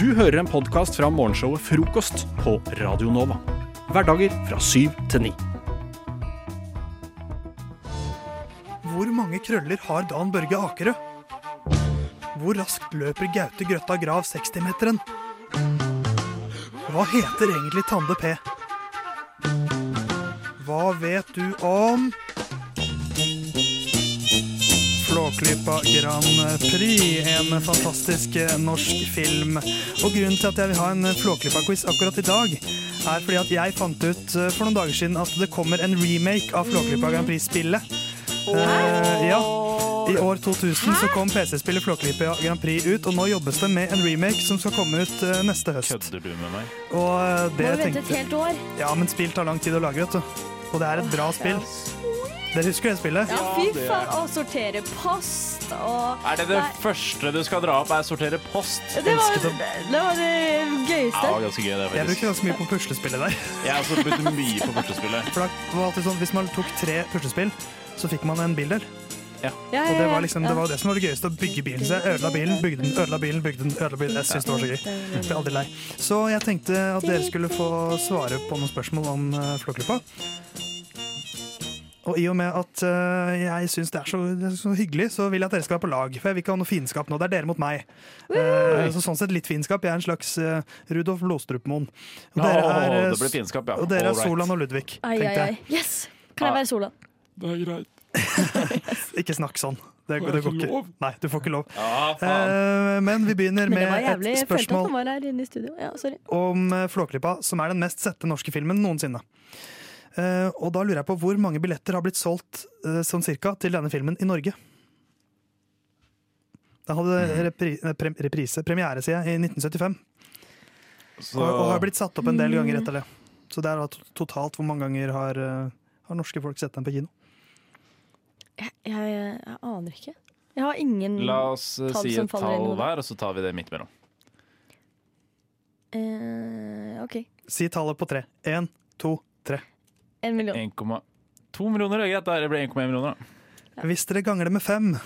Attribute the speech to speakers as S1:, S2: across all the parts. S1: Du hører en podkast fra morgenshowet Frokost på Radio Nova. Hverdager fra syv til ni.
S2: Hvor mange krøller har Dan Børge Akerø? Hvor raskt løper Gaute Grøtta Grav 60-meteren? Hva heter egentlig Tande P? Hva vet du om Flåklypa Grand Prix, en fantastisk eh, norsk film. Og grunnen til at jeg vil ha en Flåklypa-quiz akkurat i dag, er fordi at jeg fant ut eh, for noen dager siden at det kommer en remake av Flåklypa Grand Prix-spillet. Eh, ja. I år 2000 så kom PC-spillet Flåklypa Grand Prix ut, og nå jobbes det med en remake som skal komme ut eh, neste høst.
S3: Kødder du med meg?
S2: Og eh,
S4: Må
S2: det
S4: vi vente
S2: tenkte
S4: et helt år?
S2: Ja, men spill tar lang tid å lage, vet du. Og det er et bra spill. Dere husker det spillet?
S4: Ja, fy faen. Å sortere post og
S3: Er det det
S4: Nei.
S3: første du skal dra opp, er sortere post?
S4: Det var
S2: Elsket
S4: det, var det
S3: Ja, det var
S4: gøyeste.
S3: ganske gøy, det,
S2: Jeg
S3: faktisk.
S2: bruker ganske mye på puslespillet der.
S3: Jeg har også brukt mye på puslespillet.
S2: For det var alltid sånn, Hvis man tok tre puslespill, så fikk man en bilder.
S4: Ja, ja,
S2: Og det
S4: ja,
S2: var liksom, det var det som var det gøyeste. Å bygge bilen. Så jeg ødela bilen, bygde den, ødela bilen, bygde den, ødela bilen. Jeg synes det var så gøy. Jeg ble aldri lei. Så jeg tenkte at dere skulle få svare på noen spørsmål om uh, Flåklypa. Og i og med at eh, jeg syns det, er så- det er så hyggelig, så vil jeg at dere skal være på lag. For jeg vil ikke ha noe fiendskap nå. Det er dere mot meg. Eh, så sånn sett litt fiendskap. Jeg er en slags eh, Rudolf Blodstrupmoen. Og
S3: Åh,
S2: dere er, eh,
S3: det ble fiendskap, ja.
S2: og dere er
S3: All right.
S2: Solan og Ludvig,
S4: Ai, ai,
S2: tenkte
S4: ai.
S2: jeg.
S4: Yes! Kan jeg være sola?
S2: Ikke snakk sånn. Det, det går ikke. Nei, du får ikke lov.
S3: Ja, faen.
S2: Eh, men vi begynner
S4: Men det var
S2: med
S4: jævlig.
S2: et
S4: Jeg følte at han
S2: spørsmål
S4: var her inne i studio. Ja, sorry.
S2: om eh, Flåklypa, som er den mest sette norske filmen noensinne. Eh, og da lurer jeg på hvor mange billetter har blitt solgt eh, sånn cirka til denne filmen i Norge? Den hadde
S3: Mhm.
S2: repri, eh, pre, reprise, premiere, sier jeg, i 1975, og,
S3: Så,
S2: og har blitt satt opp en del
S4: Mm.
S2: ganger etter det. Så det er da to- totalt hvor mange ganger har, eh, har norske folk sett den på kino?
S4: Jeg, jeg, jeg aner ikke. Jeg har ingen
S3: la oss eh,
S4: Tall
S3: si
S4: som
S3: et
S4: faller inn i
S3: tall
S4: hodet.
S3: hver, og så tar vi det midt mellom.
S4: eh, OK.
S2: Si tallet på tre. Én, to, tre.
S4: En million.
S3: 1,2 millioner, det er greit. Det ble 1,1 millioner, da.
S2: Hvis dere ganger det med fem,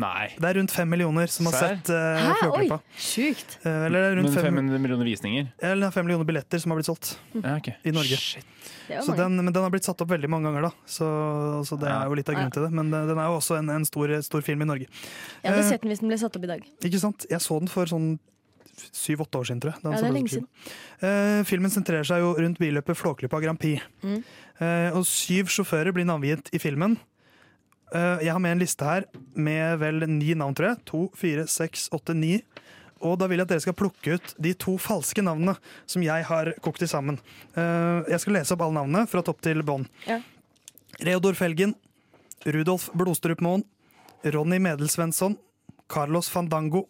S3: Nei.
S2: det er rundt fem millioner som har
S3: Serr?
S2: sett uh,
S4: Hæ? Oi!
S2: Flåklypa.
S4: Sjukt.
S2: Eh, Eller det er
S3: Men
S2: rundt fem,
S3: 500 millioner visninger?
S2: eller det er fem millioner billetter som har blitt solgt
S3: Ja, ok.
S2: i Norge.
S3: Shit.
S4: Det var
S2: Så
S4: mange.
S2: den, men den har blitt satt opp veldig mange ganger, da. Så, så det er jo litt av grunnen til det. Men eh, den er jo også en, en stor, stor film i Norge.
S4: Jeg hadde
S2: eh,
S4: sett den hvis den ble satt opp i dag.
S2: Ikke sant? Jeg så den for sånn syv-åtte år siden, tror jeg. Den
S4: Ja,
S2: så
S4: det er
S2: på
S4: lenge
S2: kino.
S4: siden.
S2: Eh, filmen sentrerer seg jo rundt billøpet Flåklypa Grand Prix.
S4: Mm.
S2: Eh, og syv sjåfører blir navngitt i filmen. Eh, jeg har med en liste her med vel ni navn, tror jeg. To, fire, seks, åtte, ni. Og da vil jeg at dere skal plukke ut de to falske navnene som jeg har kokt til sammen. Eh, jeg skal lese opp alle navnene fra topp til bånn.
S4: Ja.
S2: Reodor Felgen, Rudolf Blodstrup Moen, Ronny Medelsvensson, Carlos Fandango,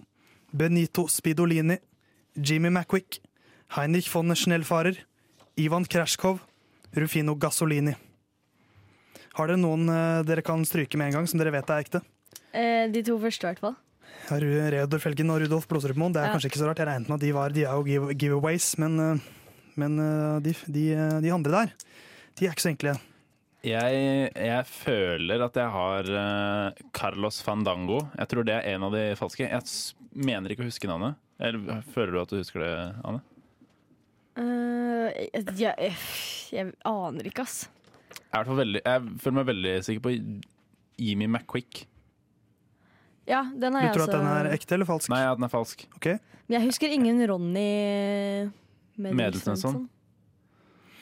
S2: Benito Spidolini, Jimmy McQuick, Heinrich von Schnellfarer, Ivan Krasjkov, Rufino Gasolini. Har dere noen eh, dere kan stryke med en gang, som dere vet er ekte?
S4: Eh, de to første, i hvert fall.
S2: Ja, Ru- Reodor Felgen og Rudolf Blodstrupmoen. Det er
S4: Ja.
S2: kanskje ikke så rart. Jeg regnet med at de var De er jo give giveaways, men, eh, men eh, de, de, eh, de andre der, de er ikke så enkle.
S3: Jeg, jeg føler at jeg har eh, Carlos Fandango. Jeg tror det er en av de falske. Jeg s- mener ikke å huske navnet. Eller Føler du at du husker det, Anne?
S4: Eh, jeg, jeg, jeg aner ikke, ass.
S3: Jeg, er i hvert fall veldig, jeg føler meg veldig sikker på Jimmy McQuick.
S4: Ja, den
S2: Du
S4: har jeg
S2: tror at
S4: også.
S2: den er ekte eller falsk?
S3: Nei, at den er falsk.
S2: Ok.
S4: Men jeg husker ingen Ronny sånn. Medelsvensson.
S3: Medelsvensson.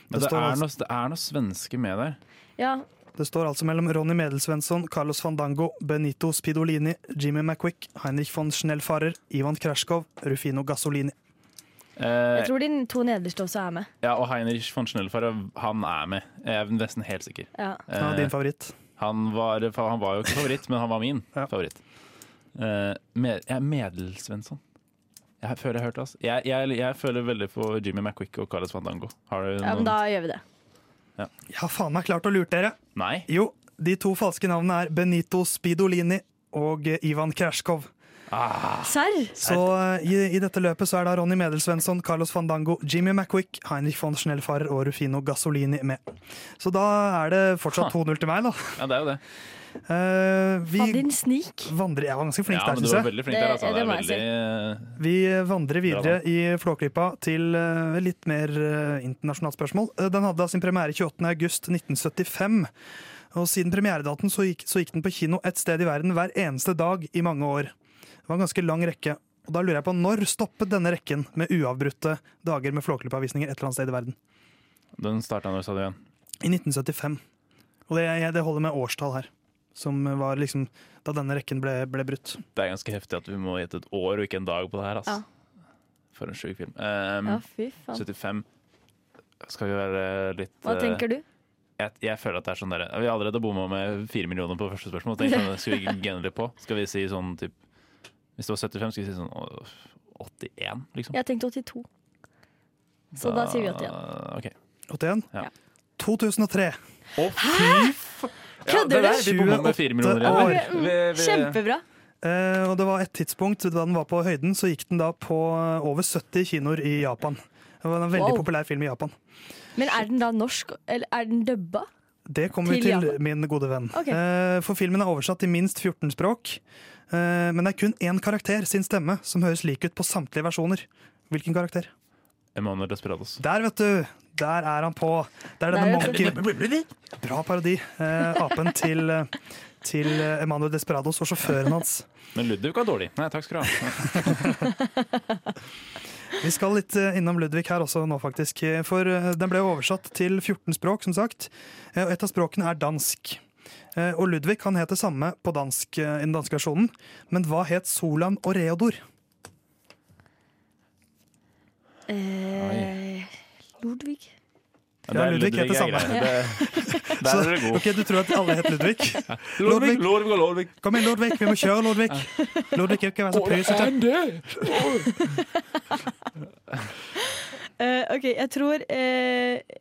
S3: Men
S2: Det
S3: det,
S2: står
S3: er
S2: altså-
S3: noe, det er noe svenske med der.
S4: Ja,
S2: Det står altså mellom Ronny Medelsvensson, Carlos Fandango, Benito Spidolini, Jimmy McQuick, Heinrich von Schnellfarer, Ivan Krasjkov, Rufino Gasolini.
S3: Eh,
S4: jeg tror de to nederste også er med.
S3: ja, og Heinrich von Schnellfar, han er med. Jeg er nesten helt sikker.
S4: Ja.
S2: Som er
S3: Eh,
S2: din favoritt.
S3: han, var, han var jo ikke favoritt, men han var min
S2: Ja.
S3: favoritt. Eh, med, jeg er Medelsvensson. Jeg føler jeg har hørt det. ass. Jeg, jeg, jeg føler veldig på Jimmy McQuick og Carlos Fandango. Har du
S4: ja,
S3: noen
S4: men da gjør vi det.
S2: Jeg har faen meg klart å lure dere!
S3: Nei?
S2: Jo, de to falske navnene er Benito Spidolini og eh, Ivan Krasjkov.
S4: Serr?
S2: Så eh, i, i dette løpet så er da Ronny Medelsvensson, Carlos Fandango, Jimmy McQuick, Heinrich von Schnellfarer og Rufino Gasolini med. Så da er det fortsatt 2-0 til meg, da.
S3: Ja, det er jo det.
S2: Eh, vi
S4: Faen, din snik.
S2: vandrer Jeg var ganske flink
S3: Ja,
S2: der,
S3: men du
S2: syns jeg.
S3: var veldig flink der.
S4: Det-
S3: Altså.
S4: det
S3: Det er
S4: må jeg si.
S3: veldig eh,
S2: Vi vandrer videre
S3: Bra,
S2: i Flåklypa til eh, litt mer eh, internasjonalt spørsmål. Eh, Den hadde da sin premiere 28.8.1975. Og siden premieredaten så gikk, så gikk den på kino et sted i verden hver eneste dag i mange år. Det var en ganske lang rekke. Og da lurer jeg på, Når stoppet denne rekken med uavbrutte dager med Flåklypa-visninger et eller annet sted i verden?
S3: eh, Den starta når sa du igjen.
S2: I 1975. Og det, jeg, det holder med årstall her. Som var liksom da denne rekken ble, ble brutt.
S3: Det er ganske heftig at vi må gjette et år og ikke en dag på det her. Altså.
S4: Ja.
S3: For en sjuk film. Um,
S4: Ja, fy faen.
S3: 75 skal vi være litt
S4: Hva
S3: eh,
S4: tenker du?
S3: jeg, jeg føler at det er sånn der, Vi har allerede bomma med fire millioner på første spørsmål. Tenk sånn, Skal vi gendre på? Skal vi si sånn typ, Hvis det var 75, skal vi si sånn å, 81, liksom?
S4: Jeg tenkte 82. Så da sier vi 81.
S3: Ah, Ok.
S2: 81?
S3: Ja.
S2: 2003.
S3: Å, fy f- Ja,
S4: Kødder
S3: det
S4: du?
S3: der, Vi bomma med fire millioner igjen.
S2: år.
S3: Vi, vi,
S4: mm, Kjempebra.
S2: Eh, og det var et tidspunkt da den var på høyden, så gikk den da på eh, over 70 kinoer i Japan. Det var en veldig
S4: Wow.
S2: populær film i Japan.
S4: Men er den da norsk, eller er den dubba?
S2: Det kommer vi
S4: Til
S2: til,
S4: Japan?
S2: min gode venn.
S4: Ok.
S2: Eh, for filmen er oversatt til minst 14 språk. eh, men det er kun én karakter sin stemme som høres lik ut på samtlige versjoner. Hvilken karakter?
S3: Emanuel Desperados.
S2: Der, vet du! Der er han på. Det er
S4: Der,
S2: denne
S4: vet du.
S2: monkey. Bra parodi. eh, apen til, eh, til eh, Emmanuel Desperados og sjåføren hans.
S3: Men Ludvig var dårlig. Nei, takk skal du ha.
S2: Vi skal litt eh, innom Ludvig her også nå, faktisk. eh, For eh, den ble jo oversatt til 14 språk, som sagt. Eh, Og et av språkene er dansk. Eh, Og Ludvig han het det samme på dansk, eh, i den danske versjonen, men hva het Solan og Reodor?
S4: Eh, Ludvig.
S2: Ja, Ludvig heter
S3: er
S2: samme.
S3: grei. Det- Der er du god.
S2: Ok, Du tror at alle het Ludvig?
S3: Ludvig, Ludvig og Ludvig.
S2: Kom inn, Ludvig, vi må kjøre, Ludvig! Ludvig, ikke vær så pysete.
S4: Eh, OK, jeg tror eh,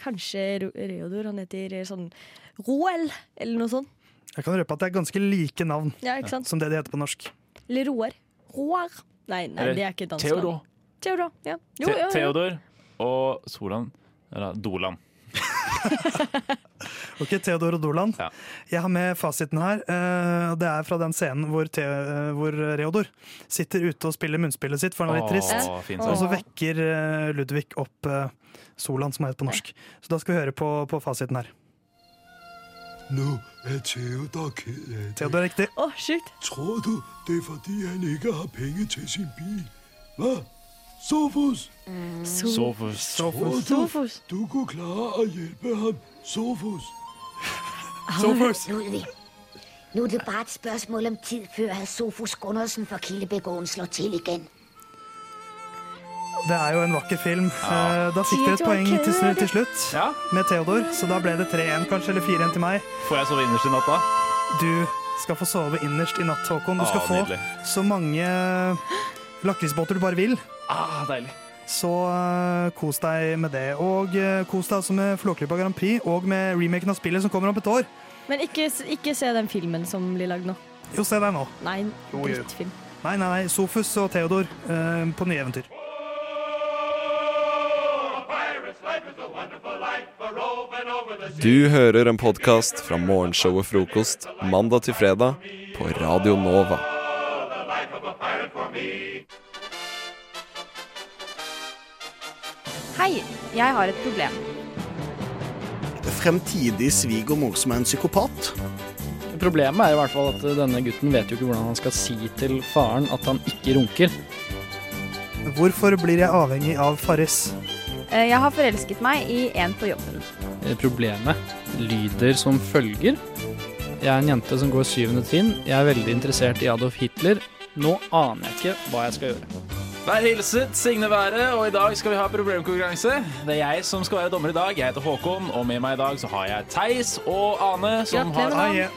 S4: kanskje Ro- Reodor. Han heter sånn Roel, eller noe sånt.
S2: Jeg kan røpe at det er ganske like navn
S4: Ja, ikke sant?
S2: som det de heter på norsk.
S4: Eller Roar. Roar. Nei, nei,
S3: Eller
S4: det er ikke dansk. navn.
S3: Theodor.
S4: Theodor, ja. Jo,
S3: Te
S4: jo, jo.
S3: Theodor og Solan. Eller Dolan.
S2: Ok, Theodor og Dolan.
S3: Ja.
S2: Jeg har med fasiten her. eh, og Det er fra den scenen hvor, Te eh, hvor Reodor sitter ute og spiller munnspillet sitt, for han er litt trist.
S3: Å, fin sang.
S2: Og så
S4: Åh.
S2: vekker eh, Ludvig opp eh, Solan, som er helt på norsk. Så da skal vi høre på, på fasiten her.
S5: Nå er Theodor ked af det.
S2: Theodor er riktig.
S4: Å, sjukt.
S5: Tror du, det er fordi, han ikke har penge til sin bil? Hvad? Sofus,
S4: So
S3: Så for-
S5: tror du,
S4: Sofus.
S5: du kunne klare at hjælpe ham? Sofus,
S2: Sofus!
S6: Ludvig. Nu er det bare et spørgsmål om tid, før at Sofus Gundersen fra Kildebegården slår til igen.
S2: Det er jo en vakker film. Eh, da fikk dere et poeng til, slu- til slutt
S3: Ja.
S2: med Theodor, så da ble det 3-1 kanskje, eller 4-1 til meg.
S3: Får jeg sove innerst i natta?
S2: Du skal få sove innerst i natt, Håkon. Du
S3: Ah,
S2: skal få
S3: nydelig.
S2: så mange eh, lakrisbåter du bare vil.
S3: Ah, deilig.
S2: Så eh, kos deg med det. Og eh, kos deg også med Flåklypa Grand Prix og med remaken av spillet som kommer om et år.
S4: Men ikke, ikke se den filmen som blir lagd nå.
S2: Jo, se deg nå.
S4: Nei, en
S2: Jo, jo.
S4: drittfilm.
S2: Nei, nei, nei. Sofus og Theodor eh, på nye eventyr. Eh,
S7: Du hører en podkast fra morgenshowet Frokost mandag til fredag på Radio Nova.
S8: Hei, jeg har et problem.
S9: Fremtidig svigermor som er en psykopat.
S10: Problemet er i hvert fall at denne gutten vet jo ikke hvordan han skal si til faren at han ikke runker.
S2: Hvorfor blir jeg avhengig av Farris?
S8: Eh, Jeg har forelsket meg i en på jobben.
S10: Eh, Problemet lyder som følger. Jeg er en jente som går syvende trinn. Jeg er veldig interessert i Adolf Hitler. Nå aner jeg ikke hva jeg skal gjøre.
S3: Vær hilset, Signe Være, og i dag skal vi ha problemkonkurranse. Det er jeg som skal være dommer i dag. Jeg heter Håkon, og med meg i dag så har jeg Theis og Ane, som
S4: Gratulerer med
S3: har
S2: Ah, ja.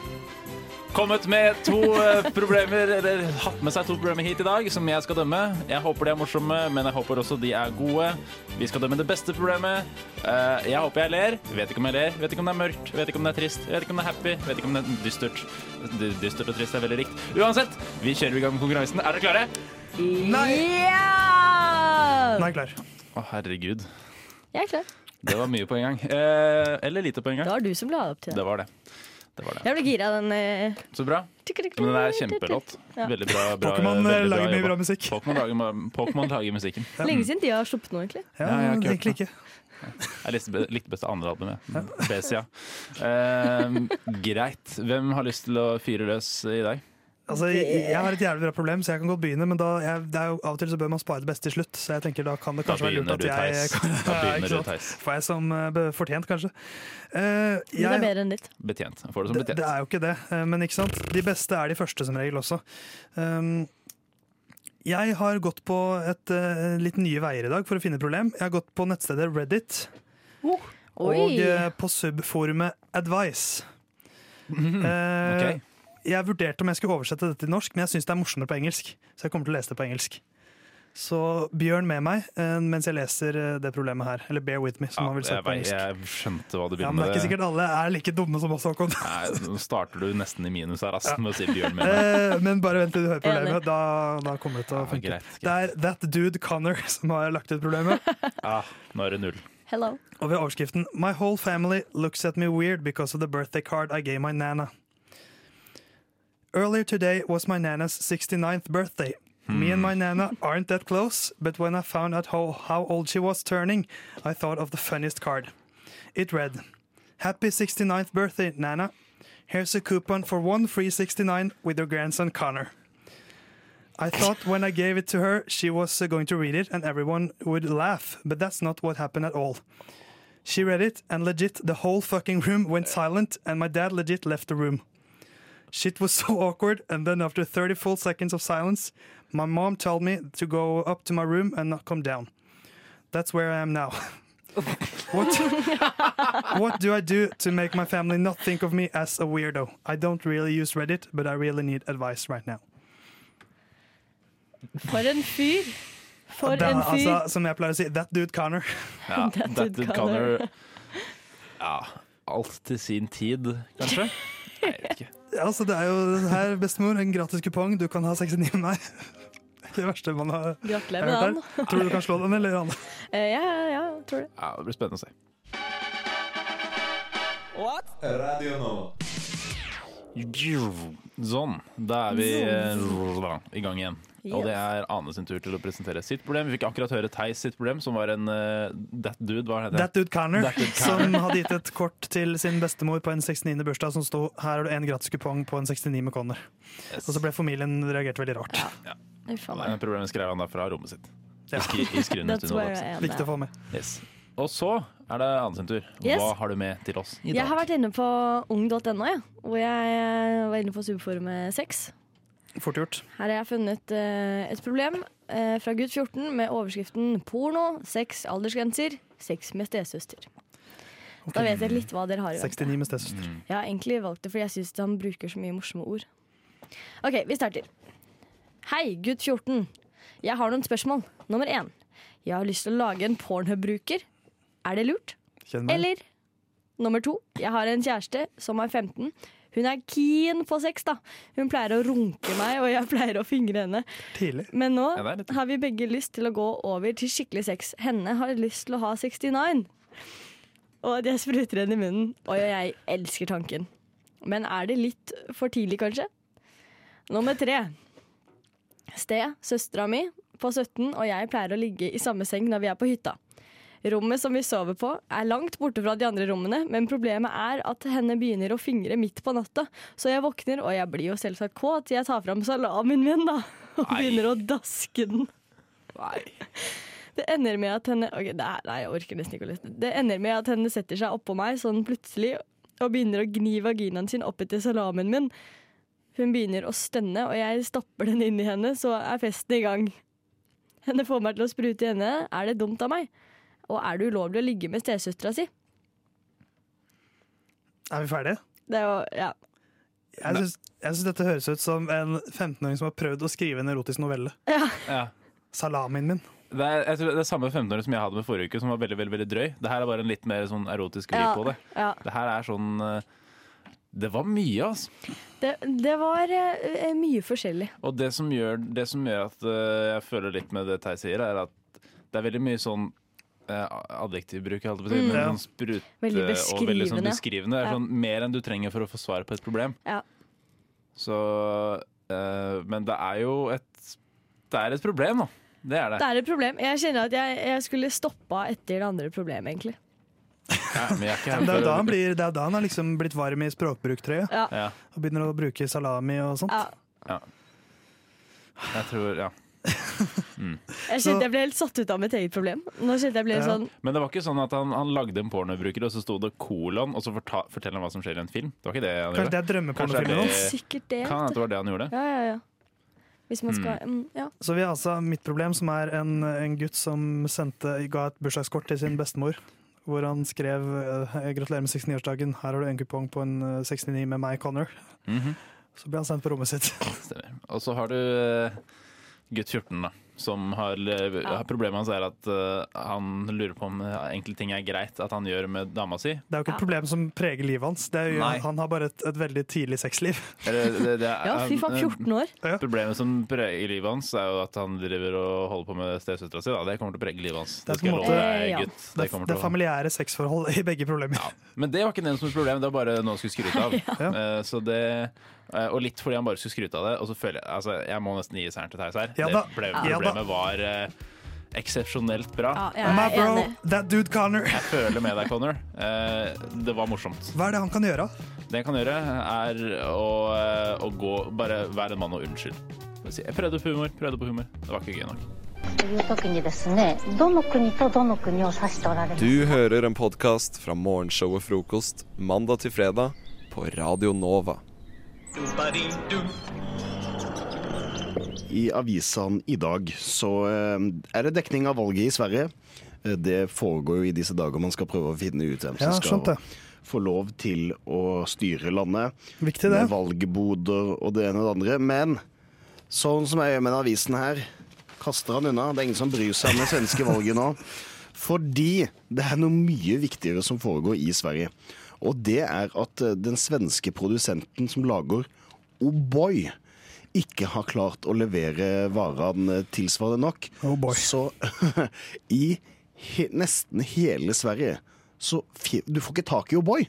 S3: kommet med to eh, problemer, eller hatt med seg to problemer hit i dag, som jeg skal dømme. Jeg håper de er morsomme, men jeg håper også de er gode. Vi skal dømme det beste problemet. Eh, Jeg håper jeg ler. Vet ikke om jeg ler. Vet ikke om det er mørkt. Vet ikke om det er trist. Vet ikke om det er happy. Vet ikke om det er dystert. D- Dystert og trist er veldig likt. Uansett, vi kjører i gang med konkurransen. Er dere klare?
S4: Ja!
S2: Nei, klar.
S3: Å, herregud.
S4: Jeg er klar.
S3: Det var mye på en gang. Eh, Eller lite på en gang.
S4: Det var du som la opp til det.
S3: Det var det. Det var det.
S4: Jeg ble gira av den. eh,
S3: Så bra. Men den er kjempelåt.
S4: Ja.
S3: Veldig bra. bra
S2: Pokémon,
S3: veldig
S2: eh, lager mye
S3: jobba.
S2: bra musikk.
S3: Pokémon lager, Pokémon lager musikken.
S4: Lenge siden de har sluppet noe, egentlig.
S2: Ja,
S3: Ja, jeg har ikke hørt
S2: egentlig ikke.
S3: Jeg likte, be- likte best det andre albumet. Besia. Eh, greit. Hvem har lyst til å fyre løs i dag?
S2: Altså, jeg, jeg har et jævlig bra problem, så jeg kan godt begynne, men da, jeg, det er jo, av og til så bør man spare det beste til slutt. Så jeg tenker da kan det
S3: Da
S2: kanskje være lurt
S3: begynner
S2: at
S3: du,
S2: jeg
S3: Theis. Da
S2: Ja, ikke
S3: begynner du,
S2: sant?
S3: Theis.
S2: Får jeg som eh, be- fortjent, kanskje. Eh,
S4: Men det er
S2: jeg,
S4: bedre enn ditt.
S3: Betjent. Jeg Får det som
S2: det,
S3: betjent.
S2: det er jo ikke det, eh, men ikke sant. De beste er de første, som regel også. Um, jeg har gått på et eh, litt nye veier i dag for å finne problem. Jeg har gått på nettstedet Reddit og eh, på subforumet Advice. Eh,
S3: Mhm. Ok.
S2: Jeg vurderte om jeg skulle oversette dette til norsk, men jeg syns det er morsommere på engelsk. Så jeg kommer til å lese det på engelsk. Så Bjørn med meg eh, mens jeg leser eh, det problemet her. Eller bear with me, som
S3: Ja,
S2: han vil si
S3: jeg,
S2: på
S3: vet-
S2: engelsk.
S3: jeg skjønte hva
S2: Ja,
S3: du begynte
S2: men det er
S3: med.
S2: ikke sikkert alle er like dumme som oss, Håkon.
S3: Nei, nå starter du nesten i minus her, ass, med å si Bjørn med meg.
S2: Eh, Men bare vent til du hører
S4: Enig.
S2: problemet. Da, da kommer det til å
S3: Ja,
S2: funke.
S3: greit,
S2: Det er That Dude Connor som har lagt ut problemet.
S3: Ah, nå er det null.
S4: Hello.
S2: Og ved overskriften My whole family looks at me weird because of the birthday card I gave my nana. Earlier today was my nana's 69th birthday. Me and my nana aren't that close, but when I found out how, how old she was turning, I thought of the funniest card. It read Happy 69th birthday, Nana. Here's a coupon for one free 69 with your grandson Connor. I thought when I gave it to her, she was uh, going to read it and everyone would laugh, but that's not what happened at all. She read it, and legit, the whole fucking room went silent, and my dad legit left the room. Shit was so awkward, and then after 30 full seconds of silence, my mom told me to go up to my room and not come down. That's where I am now. what, what do I do to make my family not think of me as a weirdo? I don't really use Reddit, but I really need advice right now.
S4: For en fyr! For
S2: Da,
S4: en fyr!
S2: altså, som jeg pleier å si, that dude Connor.
S3: Ja,
S4: That
S3: that
S4: did
S3: did
S4: Connor.
S3: Connor. Ja, alt til sin tid, kanskje? Nei, jeg vet ikke.
S2: Altså, det er jo her, bestemor, en gratis kupong. Du kan ha 69 med meg. Det verste man har
S4: Gratulerer
S2: har
S4: med
S2: hørt
S4: den.
S2: her. Tror du du kan slå den, eller? Anne?
S4: Eh, Ja, ja, ja, jeg tror det.
S3: Ja, det blir spennende å se. Sånn. Da er vi eh, i gang igjen. Og det er Ane sin tur til å presentere sitt problem. Vi fikk akkurat høre Theis sitt problem, som var en eh, That dude, hva heter
S2: That dude Connor,
S3: That dude Connor.
S2: som hadde gitt et kort til sin bestemor på en 69. bursdag som sto 'Her har du en gratis kupong på en 69 med Connor'. Og
S4: altså-
S2: så ble familien reagert veldig rart.
S4: Uff a meg.
S3: Den problemet skrev han da fra rommet sitt.
S2: Ja.
S3: I, skri, i skrinet
S4: That's
S3: til
S4: where
S3: Nodax.
S4: I am.
S2: Viktig å
S4: now.
S2: få med.
S3: Yes. Og så er det Ane sin tur.
S4: Yes.
S3: Hva har du med til oss i dag?
S4: Jeg har vært inne på ung.no, ja, hvor jeg eh, var inne på subforumet 6.
S2: Fort gjort.
S4: Her har jeg funnet eh, et problem eh, fra gutt 14 med overskriften 'Porno, sex, aldersgrenser, sex med stesøster'. Da vet jeg litt hva dere har i vente.
S2: 69 med stesøster.
S3: Mm.
S4: Jeg har egentlig valgt det fordi jeg syns han bruker så mye morsomme ord. OK, vi starter. Hei, gutt 14. Jeg har noen spørsmål. Nummer én. Jeg har lyst til å lage en pornhub-bruker. Er det lurt?
S2: Kjenn meg.
S4: Eller nummer to. Jeg har en kjæreste som er 15. Hun er keen på sex, da. Hun pleier å runke meg, og jeg pleier å fingre henne.
S2: Tidlig.
S4: Men nå
S3: Ja, det er litt-
S4: har vi begge lyst til å gå over til skikkelig sex. Henne har lyst til å ha 69. Og at jeg spruter henne i munnen. Oi, og jeg elsker tanken. Men er det litt for tidlig, kanskje? Nummer tre. Sted, søstera mi på 17 og jeg pleier å ligge i samme seng når vi er på hytta. Rommet som vi sover på er langt borte fra de andre rommene, men problemet er at henne begynner å fingre midt på natta, så jeg våkner, og jeg blir jo selvsagt kåt, jeg tar fram salamien min da, og
S3: Nei.
S4: begynner å daske den. Det ender med at henne ok, det er, Nei, jeg orker nesten ikke å lese det. Det ender med at henne setter seg oppå meg sånn plutselig og begynner å gni vaginaen sin opp etter salamien min. Hun begynner å stønne, og jeg stapper den inn i henne, så er festen i gang. Henne får meg til å sprute i henne. Er det dumt av meg? Og er det ulovlig å ligge med stesøstera si?
S2: Er vi ferdige?
S4: Det er jo, ja.
S2: Jeg syns, jeg syns dette høres ut som en 15-åring som har prøvd å skrive en erotisk novelle.
S3: Ja.
S2: Salamien min.
S3: Det er, jeg tror det er samme 15-åring som jeg hadde med forrige uke, som var veldig veldig, veldig drøy. Det her er bare en litt mer sånn erotisk vri
S4: Ja,
S3: på det.
S4: ja.
S3: Det her er sånn eh, Det var mye, altså.
S4: Det, det var eh, mye forskjellig.
S3: Og det som gjør, det som gjør at eh, jeg føler litt med det Theis sier, er at det er veldig mye sånn eh, adjektivbruk, jeg holdt på å si,
S4: Mm.
S3: men
S4: Ja.
S3: sånn sprut
S4: Veldig
S3: eh, og veldig sånn
S4: beskrivende.
S3: beskrivende. Det
S4: Ja.
S3: er sånn mer enn du trenger for å få svar på et problem.
S4: Ja.
S3: Så eh, Men det er jo et Det er et problem, da. Det er det.
S4: Det er et problem. Jeg kjenner at jeg, jeg skulle stoppa etter det andre problemet, egentlig.
S3: Ja, men jeg er ikke her
S2: Det er jo
S3: for-
S2: da han, blir, det er jo da han har liksom blitt varm i språkbruktrøya.
S4: Ja.
S3: Ja.
S2: Og begynner å bruke salami og sånt.
S3: Ja. Jeg tror Ja. Mm.
S4: Jeg kjente jeg ble helt satt ut av mitt eget problem. Nå kjente jeg ble helt sånn
S3: Men det var ikke sånn at han, han lagde en pornobruker, og så sto det kolon, og så forta, forteller han hva som skjer i en film. Det var ikke det han
S2: Kanskje
S3: gjorde.
S2: det er drømmepornofilmen
S3: Kanskje det-
S2: hans?
S4: Sikkert det.
S3: Eh, Kan Hmm. hende det var det han gjorde.
S4: Ja, ja, ja. Hvis man skal mm, Ja.
S2: Så vi har altså mitt problem, som er en, en gutt som sendte, ga et bursdagskort til sin bestemor. Hvor han skrev eh, 'Gratulerer med 69-årsdagen, her har du en kupong på en eh, 69 med meg, Connor'.
S3: Mhm.
S2: Så ble han sendt på rommet sitt.
S3: Stemmer. Og så har du eh, gutt 14, da. Som har, eh, Problemet hans er at eh, han lurer på om eh, enkelte ting er greit at han gjør med dama si.
S2: Det er jo ikke et problem som preger livet hans. Det er jo,
S3: Nei.
S2: han har bare et, et veldig tidlig sexliv.
S3: Eller, det, det er,
S4: Ja, fy faen,
S3: eh,
S4: 14 år.
S3: Problemet som preger livet hans, er jo at han driver og holder på med stesøstera si. Da. Det kommer til å prege livet hans.
S2: Det
S3: Det
S2: er på en
S3: skal jeg
S2: måte-
S3: love deg,
S2: Ja.
S3: gutt.
S2: Det,
S3: Det
S2: er-
S3: kommer
S2: det er
S3: til å
S2: familiære sexforhold i begge problemer.
S3: Men det var ikke den som var problemet, det var bare noe han skulle skryte av.
S2: Ja.
S3: Eh, Så det, eh, og litt fordi han bare skulle skryte av det. Og så føler jeg, altså, jeg må nesten gi seieren til Theis her.
S2: Ja
S3: det
S2: da.
S3: ble,
S2: Ja da.
S3: problemet var eh, eksepsjonelt bra.
S2: Ja, My bro, that dude Connor.
S3: Jeg føler med deg, Connor. Eh, Det var morsomt.
S2: Hva er det han kan gjøre?
S3: Det jeg kan gjøre, er å, eh, å gå Bare være en mann og unnskyld. Jeg prøvde på humor, prøvde på humor. Det var ikke gøy nok.
S11: という時にですねどの国とどの国を指しておられます
S7: Du hører en podkast fra morgenshowet Frokost mandag til fredag på Radio Nova.
S9: I avisene i dag så eh, er det dekning av valget i Sverige. Eh, Det foregår jo i disse dager man skal prøve å finne ut hvem som
S2: Ja, skjønt det.
S9: skal få lov til å styre landet.
S2: Viktig det.
S9: Med valgboder og det ene og det andre. Men sånn som jeg gjør med den avisen her, kaster han unna. Det er ingen som bryr seg om det svenske valget nå. Fordi det er noe mye viktigere som foregår i Sverige. Og det er at eh, den svenske produsenten som lager O'boy ikke har klart å levere varene tilsvarende nok. så i he nesten hele Sverige så fi- Du får ikke tak i O'boy.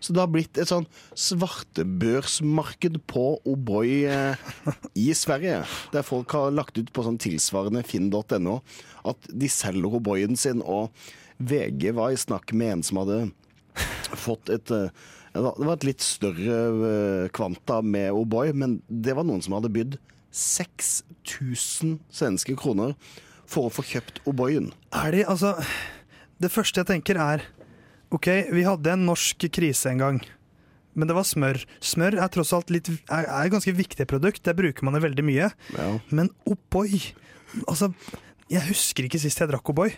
S9: Så det har blitt et sånn svartebørsmarked på O'boy eh, i Sverige. Der folk har lagt ut på sånn tilsvarende finn.no at de selger O'boyen sin. Og VG var i snakk med en som hadde fått et eh, Det var det var et litt større eh, kvanta med O'boy, men det var noen som hadde bydd 6000 svenske kroner for å få kjøpt O'boyen.
S2: Er de, altså, det første jeg tenker er Ok, vi hadde en norsk krise en gang. Men det var smør. Smør er tross alt litt, er, er et ganske viktig produkt. Det bruker man jo veldig mye. Men O'boy Altså, jeg husker ikke sist jeg drakk O'boy.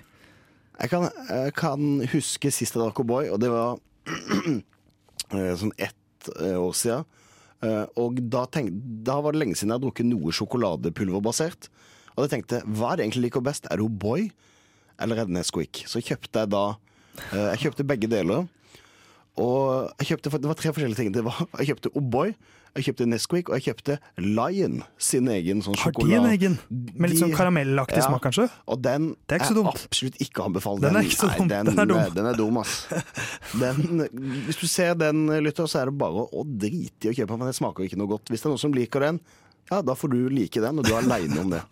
S9: Jeg kan, jeg kan huske sist jeg drakk O'boy, og det var eh, sånn ett eh, år siden. Eh, Og da, tenk, da var det lenge siden jeg hadde drukket noe sjokoladepulverbasert. Og jeg tenkte, hva er det egentlig jeg liker best? Er det O'boy eller er det Nesquik? Så kjøpte jeg da eh, Jeg kjøpte begge deler. Og jeg kjøpte, Det var tre forskjellige ting. Det var, jeg kjøpte O'boy, jeg kjøpte Nesquik og jeg kjøpte Lion sin egen sånn
S2: Har de en
S9: sjokolade.
S2: egen? Med litt
S9: De-
S2: sånn karamellaktig
S9: Ja.
S2: smak, kanskje?
S9: Og den
S2: Det er ikke så dumt.
S9: absolutt ikke anbefalt.
S2: Den er ikke så dum.
S9: Nei, den,
S2: Den er dum.
S9: Den er dum, ass. Den, hvis du ser den, lytter, så er det bare å drite i å kjøpe den, for den smaker ikke noe godt. Hvis det er noen som liker den, ja, da får du like den, og du er aleine om det.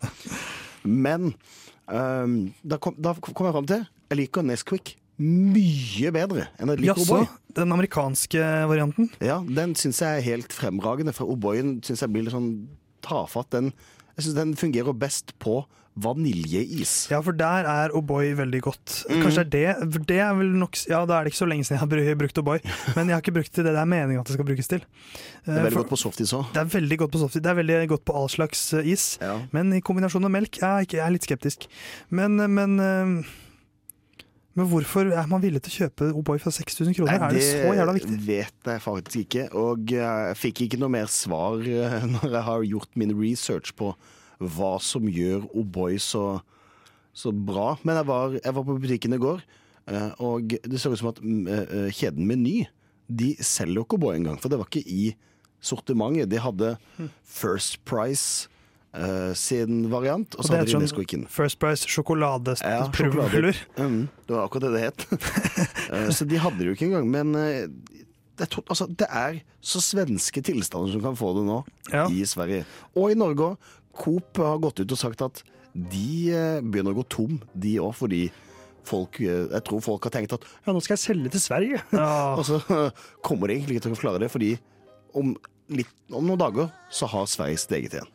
S9: Men ehm, da, kom, da kom jeg fram til jeg liker Nesquik mye bedre enn jeg liker
S2: Jaså?
S9: O'boy.
S2: Den amerikanske varianten?
S9: Ja, den syns jeg er helt fremragende. For O'boyen syns jeg blir litt sånn tafatt. Den, jeg synes den fungerer best på vaniljeis.
S2: Ja, for der er O'boy veldig godt.
S9: Mm.
S2: Kanskje er det, for det er vel nok Ja, da er det ikke så lenge siden jeg har bru- brukt O'boy, men jeg har ikke brukt det til det det er meningen at det skal brukes til. Eh,
S9: Det er veldig godt på softis òg.
S2: Det er veldig godt på softis. Det er veldig godt på all slags eh, is. Men i kombinasjon med melk jeg er ikke, jeg er litt skeptisk. Men, eh, men eh, Men hvorfor er man villig til å kjøpe O'boy for 6000 kroner? er det så jævla viktig?
S9: vet jeg faktisk ikke. Og eh, jeg fikk ikke noe mer svar eh, når jeg har gjort min research på hva som gjør O'boy så, så bra. Men jeg var, jeg var på butikken i går, eh, og det ser ut som at mm, eh, eh, kjeden Meny de
S2: Hm.
S9: selger jo ikke O'boy engang. For det var ikke i sortimentet. De hadde First Price eh, sin variant. Og
S2: Og
S9: så
S2: det
S9: hadde de
S2: heter
S9: Nesquiken.
S2: sånn First Price
S9: Ja, sjokolade.
S2: sjokoladepulver.
S9: Mm, det var akkurat det det het. Eh, så de hadde det jo ikke engang. Men eh, det er, to, altså, det er så svenske tilstander som kan få det nå, i Sverige. Og i Norge òg. Coop har gått ut og sagt at de eh, begynner å gå tom, de òg, fordi folk, eh, jeg tror folk har tenkt at ja, nå skal jeg selge til Sverige. og så eh, kommer de egentlig ikke til å klare det, fordi om, litt, om noen dager så har Sverige steget igjen.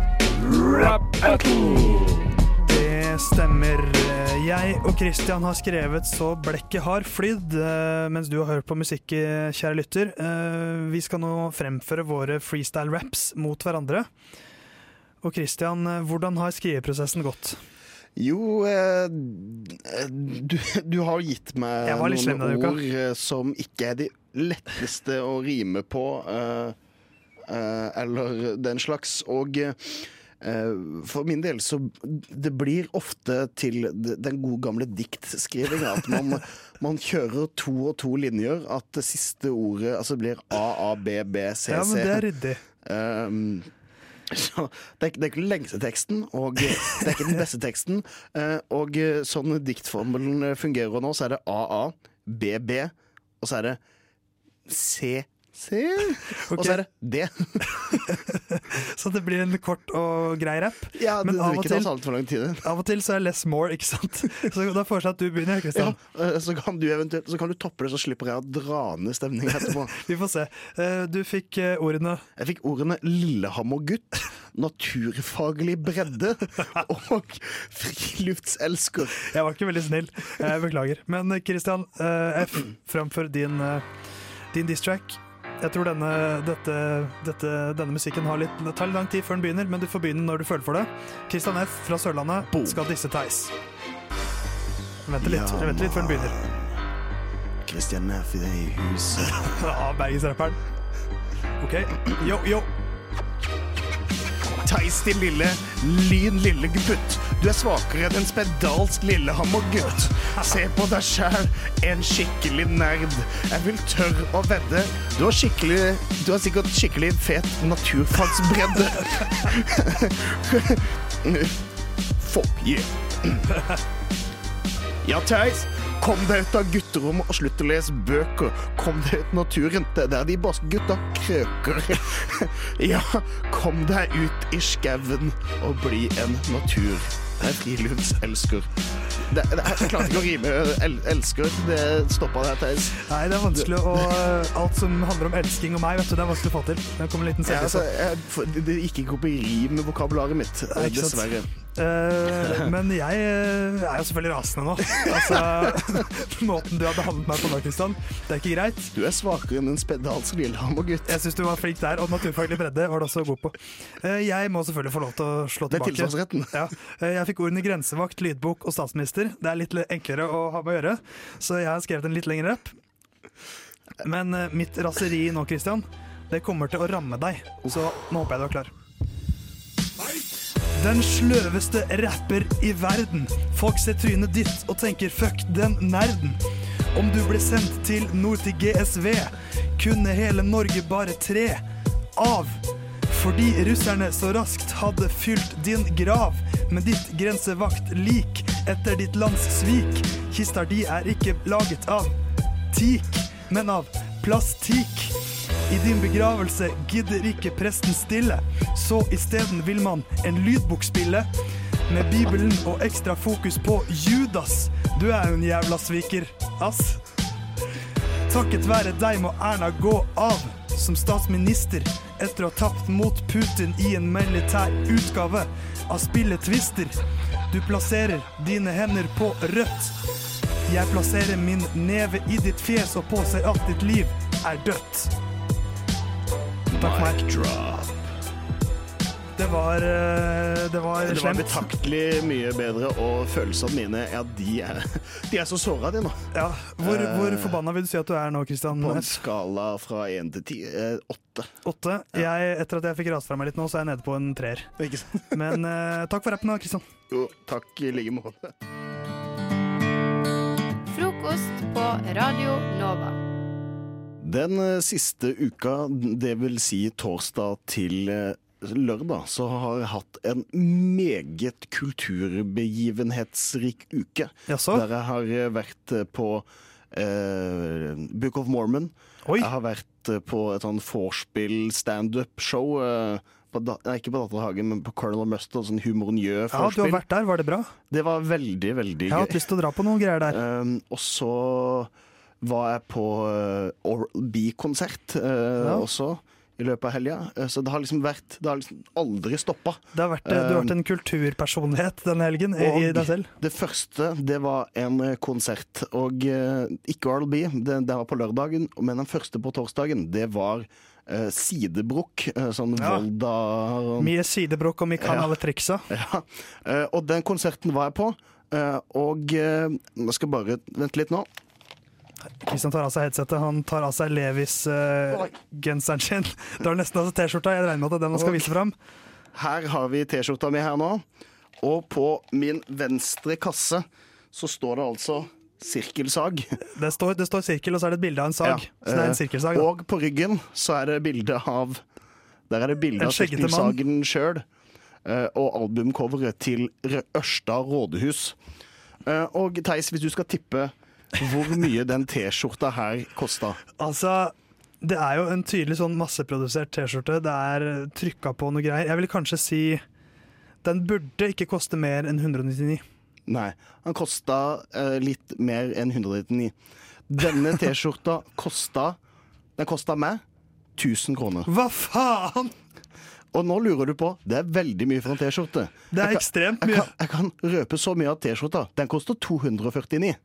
S2: Det stemmer. Jeg og Christian har skrevet så blekket har flydd, eh, mens du har hørt på musikk, eh, kjære lytter. Eh, Vi skal nå fremføre våre freestyle-raps mot hverandre. Og Christian, eh, hvordan har skriveprosessen gått?
S9: Jo, eh, du, du har gitt meg
S2: Jeg var litt slem denne
S9: noen
S2: uka.
S9: ord eh, som ikke er de letteste å rime på, eh, eh, eller den slags. Og eh, for min del så Det blir ofte til d- den gode gamle diktskrivinga at man, man kjører to og to linjer, at det siste ordet altså det blir AABBCC.
S2: Ja, men det er ryddig.
S9: Um, så det er, ikke- det er ikke den lengste teksten, og det er ikke den beste teksten. Eh, Og eh, sånn diktformelen fungerer nå, så er det AA, BB, og så er det C. C. Og så er det D.
S2: Så det blir en kort og grei rapp.
S9: Ja, det, det vil ikke ta så alt for lang tid.
S2: av og til så er less more, ikke sant? Så da foreslår jeg at du begynner, Christian.
S9: Ja, eh, så kan du eventuelt Så kan du toppe det, så slipper jeg å dra ned stemningen etterpå.
S2: Vi får se. Eh, Du fikk ordene
S9: Jeg fikk ordene Lillehammergutt, naturfaglig bredde og friluftselsker.
S2: Jeg var ikke veldig snill. Jeg beklager. Men Christian, eh, F, framfor din, eh, din diss-track. Jeg tror denne, dette, dette, denne musikken har litt, det tar litt lang tid før den begynner, men du får begynne når du føler for det. Christian F fra Sørlandet skal disse Theis. Vent litt,
S9: Ja,
S2: jeg venter litt før den begynner.
S9: Kristian er for deg i huset.
S2: Ja, Bergensrapperen. OK. Yo, yo.
S9: Theis din lille, lyn lille gutt. Du er svakere enn en spedalsk Lillehammer-gutt. Se på deg sjæl, en skikkelig nerd. Jeg vil tørre å vedde. Du har, skikkelig, du har sikkert skikkelig fet naturfagsbredde. Fuck yeah. Ja, Theis. Kom deg ut av gutterommet og slutt å lese bøker. Kom deg ut i naturen. Det er der de barske gutta krøker. Ja, kom deg ut i skauen og bli en natur. Det er friluftselsker. Det, det, jeg klarte ikke å rime el, elsker. Det stoppa der, Theis.
S2: Nei, det er vanskelig å eh, Alt som handler om elsking og meg, vet du, det er vanskelig å få til. Det kommer en liten
S9: Ja, altså,
S2: selvdisse.
S9: jeg, for- det det gikk ikke opp i rim med vokabularet mitt,
S2: Nei, ikke sant.
S9: dessverre.
S2: Eh, men jeg eh, er jo selvfølgelig rasende nå. Altså, måten du har behandlet meg på nå, Kristian, det er ikke greit.
S9: Du er svakere enn en spedalsk Lillehammer-gutt.
S2: Jeg syns du var flink der, og naturfaglig bredde var du også god på. Eh, jeg må selvfølgelig få lov til å slå
S9: Det er
S2: tilbake.
S9: tilsvarsretten.
S2: Ja. Eh, jeg fikk ordene grensevakt, lydbok og statsminister. Det er litt le- enklere å ha med å gjøre, så jeg har skrevet en litt lengre rapp. Men eh, mitt raseri nå, Kristian, det kommer til å ramme deg, så nå håper jeg du er klar. Den sløveste rapper i verden. Folk ser trynet ditt og tenker 'fuck den nerden'. Om du ble sendt til nord til GSV, kunne hele Norge bare tre av. Fordi russerne så raskt hadde fylt din grav med ditt grensevaktlik etter ditt lands svik. Kista di er ikke laget av teak, men av plastikk. I din begravelse gidder ikke presten stille, så isteden vil man en lydbok spille. Med Bibelen og ekstra fokus på Judas. Du er jo en jævla sviker, ass. Takket være deg må Erna gå av som statsminister etter å ha tapt mot Putin i en militær utgave av spillet Twister. Du plasserer dine hender på rødt. Jeg plasserer min neve i ditt fjes og påser at ditt liv er dødt. Takk for meg. Det var, eh, det var
S9: Det var
S2: slemt.
S9: betraktelig mye bedre, og følelsene mine Ja, de er, de er så såra, de nå.
S2: Ja, Hvor,
S9: Eh,
S2: hvor forbanna vil du si at du er nå, Christian?
S9: På en
S2: F?
S9: skala fra én til ti eh, åtte.
S2: Åtte. Jeg, etter at jeg fikk rast fra meg litt nå, så er jeg nede på en treer. Men eh, takk for rappen da, Kristian.
S9: Jo, takk i like måte.
S8: Frokost på Radio Nova.
S9: Den eh, siste uka, det vil si torsdag til eh, lørdag, så har jeg hatt en meget kulturbegivenhetsrik uke. Der jeg har eh, vært eh, på eh, Book of Mormon. Jeg har vært eh, på et sånn vorspiel-standup-show. Eh, på da, nei, ikke på Datterhagen, men på Colonel Mustard, sånn humornjø-vorspiel.
S2: Ja, du har vært der, var det bra?
S9: Det var veldig, veldig
S2: Jeg har hatt
S9: gøy.
S2: lyst til å dra på noen greier der.
S9: Um, og så var jeg på uh, Oral B-konsert uh, også i løpet av helga. Uh, så det har liksom vært Det har liksom aldri stoppa.
S2: Det har vært, eh, du har
S9: Um,
S2: vært en kulturpersonlighet denne helgen eh, i, i deg selv.
S9: Det første, det var en eh, konsert. Og eh, ikke Oral B, det, det var på lørdagen, men den første på torsdagen, det var eh, Sidebrukk. eh, sånn
S2: Ja.
S9: Volda
S2: Mye sidebrokk, og vi kan alle triksa.
S9: Ja. Eh, og den konserten var jeg på. eh, og eh, jeg skal bare vente litt nå.
S2: Kristian tar av seg headsetet, han tar av seg Levis-genseren sin. Det var nesten altså T-skjorta, jeg regner med at det er den han skal vise fram.
S9: Her har vi T-skjorta mi her nå. Og på min venstre kasse så står det altså sirkelsag.
S2: Det står, det står sirkel, og så er det et bilde av en sag.
S9: Ja,
S2: Så det er
S9: eh,
S2: en sirkelsag. da.
S9: Og på ryggen så er det bilde av Der er det bilde
S2: En
S9: av
S2: skjeggete mann.
S9: sirkelsagen sjøl. eh, Og albumcoveret til Rø- Ørsta rådhus. Eh, Og Theis, hvis du skal tippe hvor mye den T-skjorta her kosta
S2: Altså, det er jo en tydelig sånn masseprodusert T-skjorte. Det er trykka på noe greier. Jeg vil kanskje si den burde ikke koste mer enn 199.
S9: Nei, han kosta eh, litt mer enn 199. Denne T-skjorta kosta Den kosta meg 1000 kroner.
S2: Hva faen?!
S9: Og nå lurer du på Det er veldig mye for en T-skjorte.
S2: Det er
S9: Jeg kan-
S2: ekstremt
S9: Jeg
S2: mye.
S9: kan, jeg kan røpe så mye av T-skjorta. Den koster 249.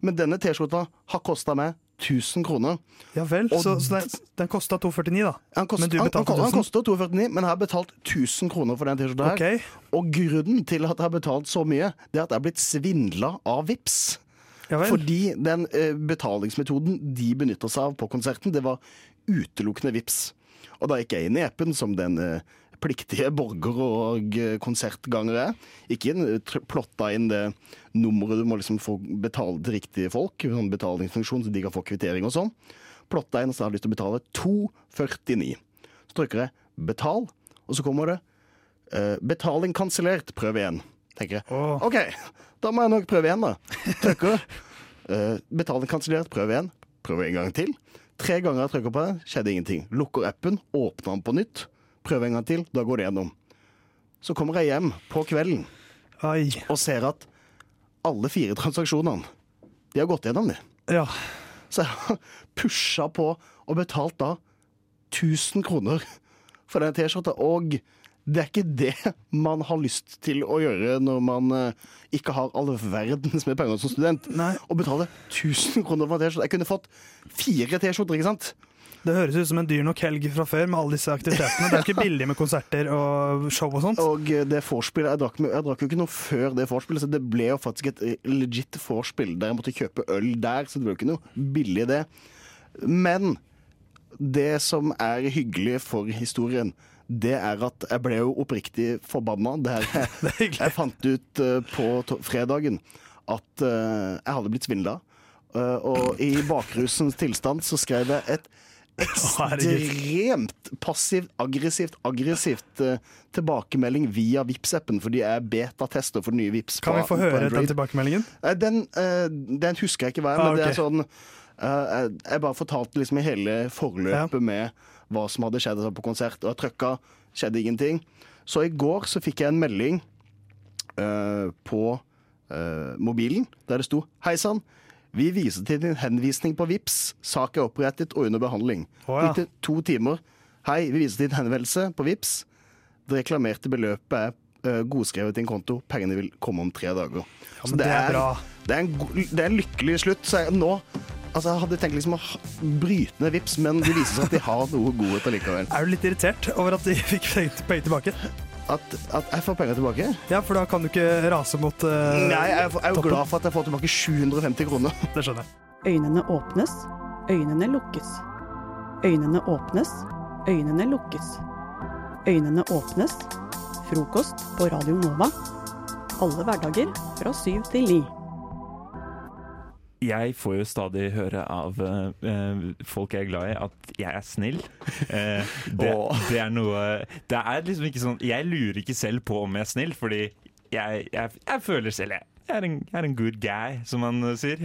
S9: Men denne T-skjorta har kosta meg 1000 kroner.
S2: Ja vel,
S9: Og
S2: så, så den, den kosta 249, da.
S9: Han kost,
S2: Men du
S9: han-
S2: betalte
S9: han, han
S2: 1000.
S9: koster 249, men jeg har betalt 1000 kroner for den T-skjorta. her.
S2: Ok.
S9: Og grunnen til at jeg har betalt så mye, det er at jeg har blitt svindla av VIPS.
S2: Ja vel.
S9: Fordi den eh, betalingsmetoden de benytta seg av på konserten, det var utelukkende VIPS. Og da gikk jeg inn i appen som den eh, pliktige borger og eh, konsertganger jeg er. Ikke inn, eh, tr- plotta inn det nummeret du må liksom få betale til riktige folk, sånn betalingsfunksjon så de kan få kvittering og sånn. Plotta inn og så har jeg lyst til å betale 2,49. Så trykker jeg 'betal', og så kommer det Eh, betaling kansellert, prøv igjen. Tenker jeg. OK, da må jeg nok prøve igjen, da. Trykker. Eh, betaling kansellert, prøv igjen. Prøv en gang til. Tre ganger jeg trykker på det, skjedde ingenting. Lukker appen, åpner den på nytt. Prøv en gang til, da går det gjennom. Så kommer jeg hjem på kvelden og ser at alle fire transaksjonene, de har gått gjennom, de. Så jeg har pusha på og betalt da 1000 kroner for den T-skjorta. Og det er ikke det man har lyst til å gjøre når man eh, ikke har all verdens med penger som student. Å betale 1000 kroner for en T-skjorte. Jeg kunne fått fire T-skjorter, ikke sant?
S2: Det høres ut som en dyr nok helg fra før med alle disse aktivitetene. Det er jo ikke billig med konserter og show og sånt.
S9: Og eh, det vorspielet jeg drakk med, Jeg drakk jo ikke noe før det vorspielet, så det ble jo faktisk et eh, legit vorspiel der jeg måtte kjøpe øl der, så det ble jo ikke noe billig det. Men det som er hyggelig for historien, det er at jeg ble jo oppriktig forbanna der jeg, jeg fant ut eh, på to fredagen at eh, jeg hadde blitt svindla. Eh, og i bakrusens tilstand så skrev jeg et ekstremt passivt, aggressivt, aggressivt eh, tilbakemelding via Vipps-appen, fordi jeg er beta-tester for den nye Vipps.
S2: Kan vi
S9: på-
S2: få
S9: på
S2: høre
S9: Android.
S2: den tilbakemeldingen?
S9: Nei, Den, eh, den husker jeg ikke hva er, men
S2: Ah,
S9: det
S2: ok.
S9: er sånn eh, jeg- Jeg bare fortalte liksom hele forløpet med hva som hadde skjedd altså, på konsert, og jeg trykka, skjedde ingenting. Så i går så fikk jeg en melding eh, på eh, mobilen der det sto Hei sann, vi viser til din henvisning på VIPS. Sak er opprettet og under behandling.
S2: Å, ja.
S9: Gikk det to timer. Hei, vi viser til din henvendelse på VIPS. Det reklamerte beløpet er eh, godskrevet i en konto. Pengene vil komme om tre dager.
S2: men det er bra.
S9: Det er, en, go- det er en lykkelig slutt. Så jeg, nå Altså, jeg hadde tenkt liksom å ha- bryte ned VIPS, men det viser seg at de har noe godhet allikevel.
S2: Er du litt irritert over at de fikk penger tilbake?
S9: At, at jeg får penger tilbake?
S2: Ja, for da kan du ikke rase mot eh,
S9: Nei, jeg er jo
S2: toppen.
S9: glad for at jeg får tilbake 750 kroner.
S2: Det skjønner jeg.
S6: Øynene åpnes, øynene lukkes. Øynene åpnes, øynene lukkes. Øynene åpnes. Frokost på Radio Nova. Alle hverdager fra syv til ni.
S3: Jeg får jo stadig høre av eh, eh, folk jeg er glad i, at jeg er snill. Eh, det,
S9: Åh.
S3: det er noe Det er liksom ikke sånn Jeg lurer ikke selv på om jeg er snill, fordi jeg, jeg, jeg føler selv jeg. Jeg er, en, jeg er en good guy, som man eh, sier.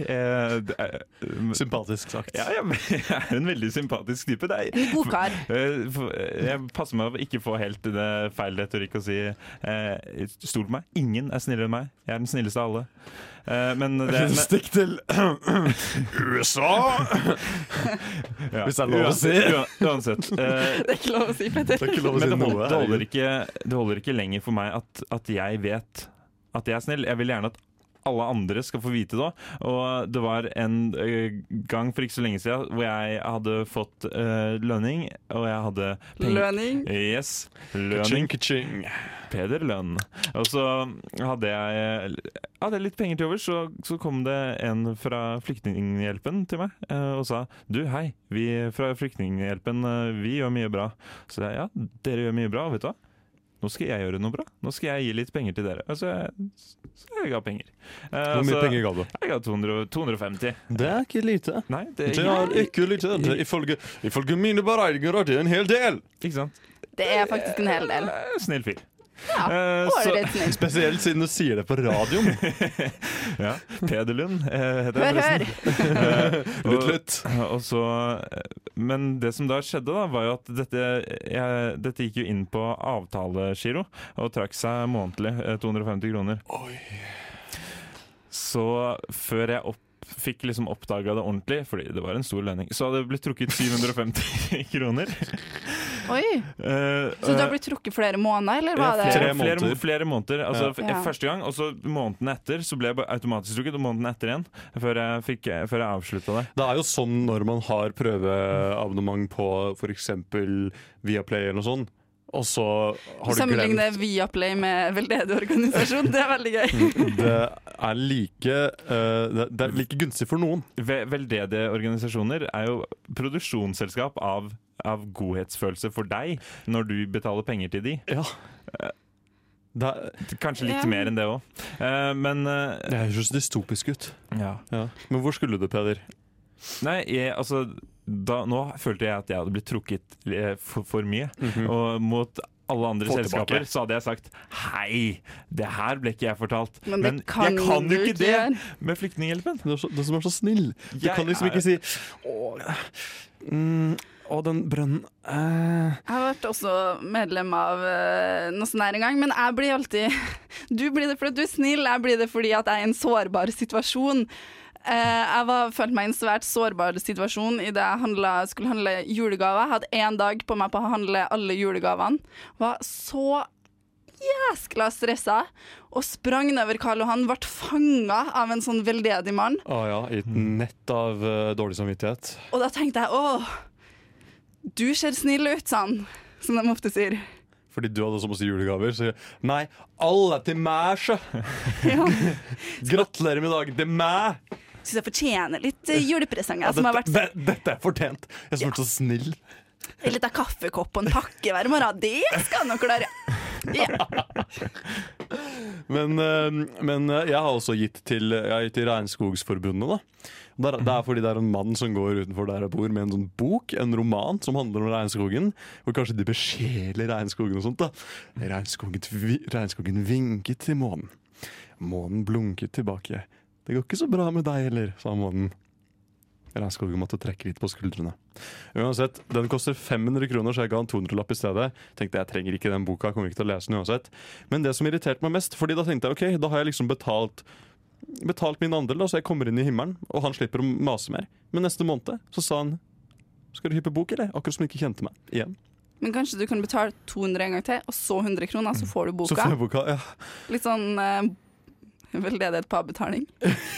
S3: Sympatisk sagt. Ja, ja, men jeg er en veldig sympatisk type. Det er,
S12: God kar.
S3: Eh, for- eh, Jeg passer meg å ikke få helt øh, det feil retorikk å si eh, stol på meg. Ingen er snillere enn meg. Jeg er den snilleste av alle. Eh, Men det men-
S5: Stikk til USA!
S3: Ja.
S5: Hvis det er lov å si.
S3: Ua- ua- Uansett. eh,
S12: Det er ikke lov å si, Petter.
S3: men det holder, det, holder ikke, det holder ikke lenger for meg at, at jeg vet at jeg er snill. Jeg vil gjerne at alle andre skal få vite det. også. Og det var en ø, gang for ikke så lenge siden hvor jeg hadde fått ø, lønning, og jeg hadde penger-
S12: Lønning?
S3: Yes. Lønning. Peder Lønn. Og så hadde jeg hadde jeg litt penger til over, så, så kom det en fra Flyktninghjelpen til meg eh, og sa Du, hei, vi fra Flyktninghjelpen, eh, vi gjør mye bra. Så jeg, ja, dere gjør mye bra, og vet du hva? Nå skal jeg gjøre noe bra. Nå skal jeg gi litt penger til dere. Og så, så jeg ga penger. Eh,
S5: Hvor mye
S3: så-
S5: penger ga du?
S3: Jeg ga 200, 250.
S5: Altså- Det er ikke lite.
S3: Nei,
S5: det,
S3: det-
S5: er ikke lite. Det, ifølge, ifølge mine beregninger er det en hel del.
S3: Ikke sant?
S12: Det er faktisk en hel del.
S3: Snill fyr.
S12: Ja,
S3: Eh,
S12: ålreit snill.
S5: Spesielt siden du sier det på radioen.
S3: ja. Peder Lund eh, heter
S12: Hør,
S3: jeg forresten.
S5: hør.
S3: Eh, og- Og så, eh, men det som da skjedde, da, var jo at dette, jeg, dette gikk jo inn på avtalegiro og trakk seg månedlig eh, 250 kroner. Så før jeg opp Fikk liksom oppdaga det ordentlig, fordi det var en stor lønning. Så hadde det blitt trukket 750 kroner.
S12: Oi.
S3: Eh,
S12: Så du
S3: eh,
S12: har blitt trukket flere måneder, eller hva
S3: ja,
S12: er
S3: flere,
S12: det?
S3: Flere, flere måneder. Altså, f-
S12: Ja.
S3: Første gang, og så måneden etter. Så ble jeg bare automatisk trukket, og måneden etter igjen. Før jeg, fikk, før jeg avslutta det.
S5: Det er jo sånn når man har prøveabonnement på f.eks. Viaplay eller noe sånt, og så har du
S12: Sammenligne
S5: glemt
S12: Viaplay med veldedig organisasjon, det er veldig gøy.
S5: Det er like eh, det- Det er like gunstig for noen.
S3: Ve- Veldedige organisasjoner er jo produksjonsselskap av, av godhetsfølelse for deg, når du betaler penger til de. Eh, Kanskje litt
S5: Ja.
S3: mer enn det òg. Men eh,
S5: Det høres dystopisk ut.
S3: Ja.
S5: Men hvor skulle du, Peder?
S3: Nei, jeg, altså da, Nå følte jeg at jeg hadde blitt trukket eh, for, for mye.
S5: Mhm.
S3: Og mot alle andre
S5: Få
S3: selskaper
S5: tilbake.
S3: så hadde jeg sagt Hei, det her ble ikke jeg fortalt.
S5: Men det kan
S3: jeg kan
S5: du
S3: jo ikke
S5: ikke
S3: det
S5: gjøre.
S3: med Flyktninghjelpen.
S5: Det er så, det som er så snill. Du
S3: Jeg
S5: kan liksom
S3: er-
S5: ikke si Å, mm, å den brønnen eh,
S12: Jeg har vært også medlem av eh, noe sånt her en gang, men jeg blir alltid Du blir det fordi du er snill, jeg blir det fordi at jeg er i en sårbar situasjon. Eh, jeg var, følte meg i en svært sårbar situasjon idet jeg handla, skulle handle julegaver. Jeg hadde én dag på meg på å handle alle julegavene. Var så jæskla stressa og sprang nedover Karl Johan. Ble fanga av en sånn veldedig mann.
S5: Å "Ah ja, i et
S3: Mhm.
S5: nett av eh, dårlig samvittighet.
S12: Og da tenkte jeg åh, du ser snill ut, sa han, som de ofte sier.
S5: Fordi du hadde så masse julegaver. Så jeg, nei, alle til meg, sjø! Gratulerer med dagen til meg!
S12: Syns jeg fortjener litt eh, julepresanger.
S5: Ja,
S12: som har
S5: dette,
S12: vært sånn.
S5: det- dette er fortjent. Jeg som har vært så snill.
S12: En liten kaffekopp og en pakke hver morgen. Det skal han nok klare.
S5: Men, eh, men eh, jeg har også gitt til, jeg har gitt til Regnskogsforbundet. Da. Der, det er fordi det er en mann som går utenfor der jeg bor med en sånn bok, en roman som handler om regnskogen. Hvor kanskje de besjeler regnskogen og sånt. da. Regnskogen, tvi- regnskogen vinket til månen. Månen blunket tilbake. Det går ikke så bra med deg heller, sa månen. Regnskogen måtte trekke litt på skuldrene. Uansett, Den koster 500 kroner, så jeg ga han 200-lapp i stedet. Tenkte jeg trenger ikke den boka, kommer ikke til å lese den uansett. Men det som irriterte meg mest, Fordi da tenkte jeg ok, da har jeg liksom betalt Betalt min andel, da, så jeg kommer inn i himmelen, og han slipper å mase mer. Men neste måned så sa han skal du hyppe bok, eller? Akkurat som han ikke kjente meg igjen.
S12: Men kanskje du kan betale 200 en gang til, og så 100 kroner, så får du
S5: Så
S12: boka.
S5: får jeg boka, ja.
S12: Litt sånn eh, veldedighet på avbetaling.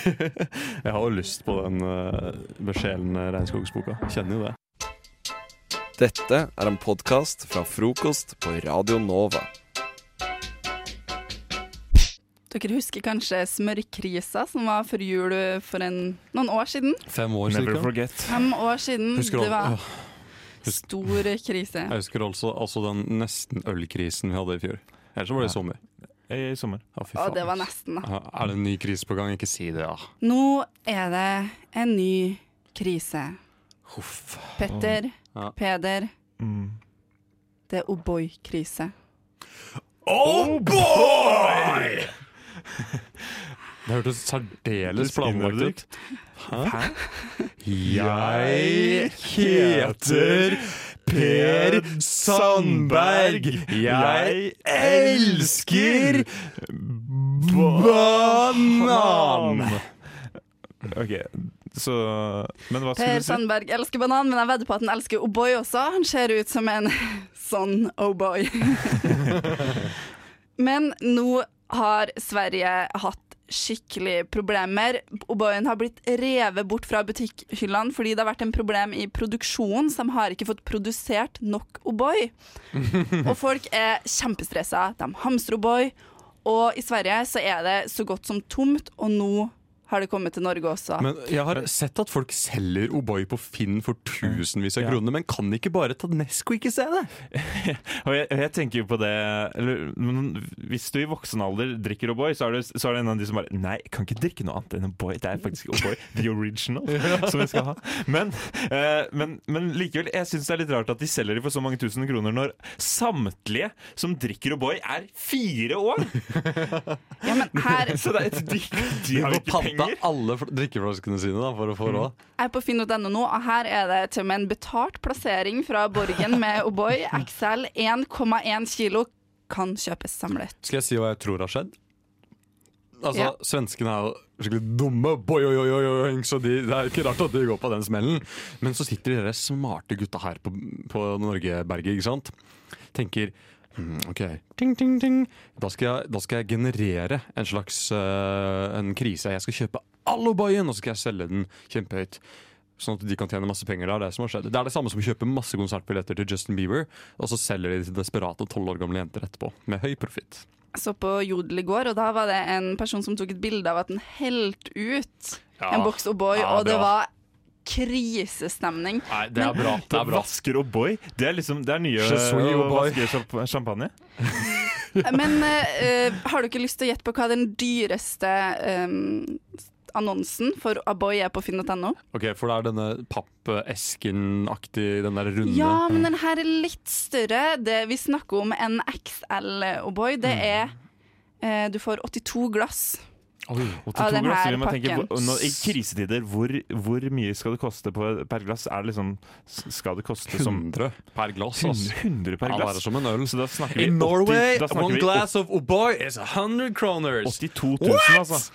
S5: Jeg har jo lyst på den uh, besjelende regnskogsboka. Kjenner jo det.
S13: Dette er en podkast fra frokost på Radio Nova.
S12: Dere husker kanskje smørkrisa som var før jul for en, noen år siden?
S5: Fem år
S3: Never
S5: cirka.
S3: forget.
S12: Fem år siden.
S5: Husker du
S12: Mm, det
S5: al-
S12: var
S5: åh,
S12: stor krise.
S5: Jeg husker altså, altså den nesten ølkrisen vi hadde i fjor. Eller så var det i sommer.
S3: I sommer.
S5: Å, fy
S12: Å,
S5: faen.
S12: det var nesten, da.
S5: Ja, Er det en ny krise på gang? Ikke si det, ja.
S12: Nå er det en ny krise.
S5: Huff.
S12: Petter,
S5: Ja.
S12: Peder, det er O'boy-krise.
S5: Oh boy! Det hørtes særdeles planlagt ut. Hæ? Jeg heter Per Sandberg. Jeg elsker banan!
S3: OK, så Men hva skulle
S12: Per
S3: du si?
S12: Sandberg elsker banan, men jeg vedder på at han elsker O'boy også. Han ser ut som en sånn O'boy. men nå har Sverige hatt skikkelig problemer. O'boyen har blitt revet bort fra butikkhyllene fordi det har vært en problem i produksjonen, så de har ikke fått produsert nok O'boy. Og folk er kjempestressa. De hamstrer O'boy. Og i Sverige så er det så godt som tomt, og nå har det kommet til Norge også.
S5: Men Jeg har sett at folk selger O'boy på Finn for tusenvis av kroner, men kan de ikke bare ta Nesco ikke se det?
S3: Og jeg, jeg tenker jo på det eller, men Hvis du i voksen alder drikker O'boy, så, er det- så er det en av de som bare Nei, jeg kan ikke drikke noe annet enn O'boy. Det er faktisk O'boy, the original, som jeg skal ha. Men, eh, men, men likevel, jeg syns det er litt rart at de selger det for så mange tusen kroner når samtlige som drikker O'boy, er fire år! så det er et dikt.
S5: De
S3: har
S5: må
S3: ikke
S5: pante alle fl- drikkeflaskene sine da, for å få råd.
S12: Jeg er på finn.no nå, og her er det til og med en betalt plassering fra Borgen med O'boy XL 1,1 kilo kan kjøpes samlet.
S5: Skal jeg si hva jeg tror har skjedd? Altså,
S12: Ja.
S5: Svenskene er jo skikkelig dumme, boy, oi, oi, oi, oi, så de, det er ikke rart at de går på den smellen. Men så sitter de der smarte gutta her på, på Norgeberget, ikke sant? Tenker «Hmm, OK, ting, ting, ting. Da, skal jeg, da skal jeg generere en slags eh, en krise. Jeg skal kjøpe all O'boyen, og så skal jeg selge den kjempehøyt. Sånn at de kan tjene masse penger. Det er det som har skjedd. Det er det samme som å kjøpe masse konsertbilletter til Justin Bieber, og så selger de til desperate tolv år gamle jenter etterpå. Med høy profitt.
S12: Jeg så på Jodel i går, og da var det en person som tok et bilde av at den helte ut
S3: Ja.
S12: en boks O'boy,
S3: Ja,
S12: og
S3: det
S12: det
S3: var-
S12: var krisestemning.
S3: Nei, det er
S12: Men-
S3: bra. Det er bra. Vasker O'boy. Det er liksom Det er nye
S5: Je suis
S3: å
S5: O'boy.
S3: vaske sjamp- champagne.
S12: Men eh, eh, har du ikke lyst til å gjette på hva den dyreste eh, annonsen for O'boy er på finn.no?
S5: Ok, For det er denne pappesken-aktig, den der runde
S12: Ja, Ah, men den her er litt større. Det Eh, vi snakker om en XL O'boy. Det er eh, Du får 82 glass.
S5: Oi,
S12: Av den her pakken.
S3: når, I krisetider, hvor, hvor mye skal det koste på, per glass? Er det liksom, s- skal det koste 100 som
S5: 100 per glass?
S3: 100, per
S5: Ja,
S3: glass.
S5: det er som en øl.
S3: Så da snakker vi 80
S5: In Norway,
S3: da snakker
S5: one
S3: vi
S5: glass of O'boy is 100 kroners.
S3: 82 000, altså.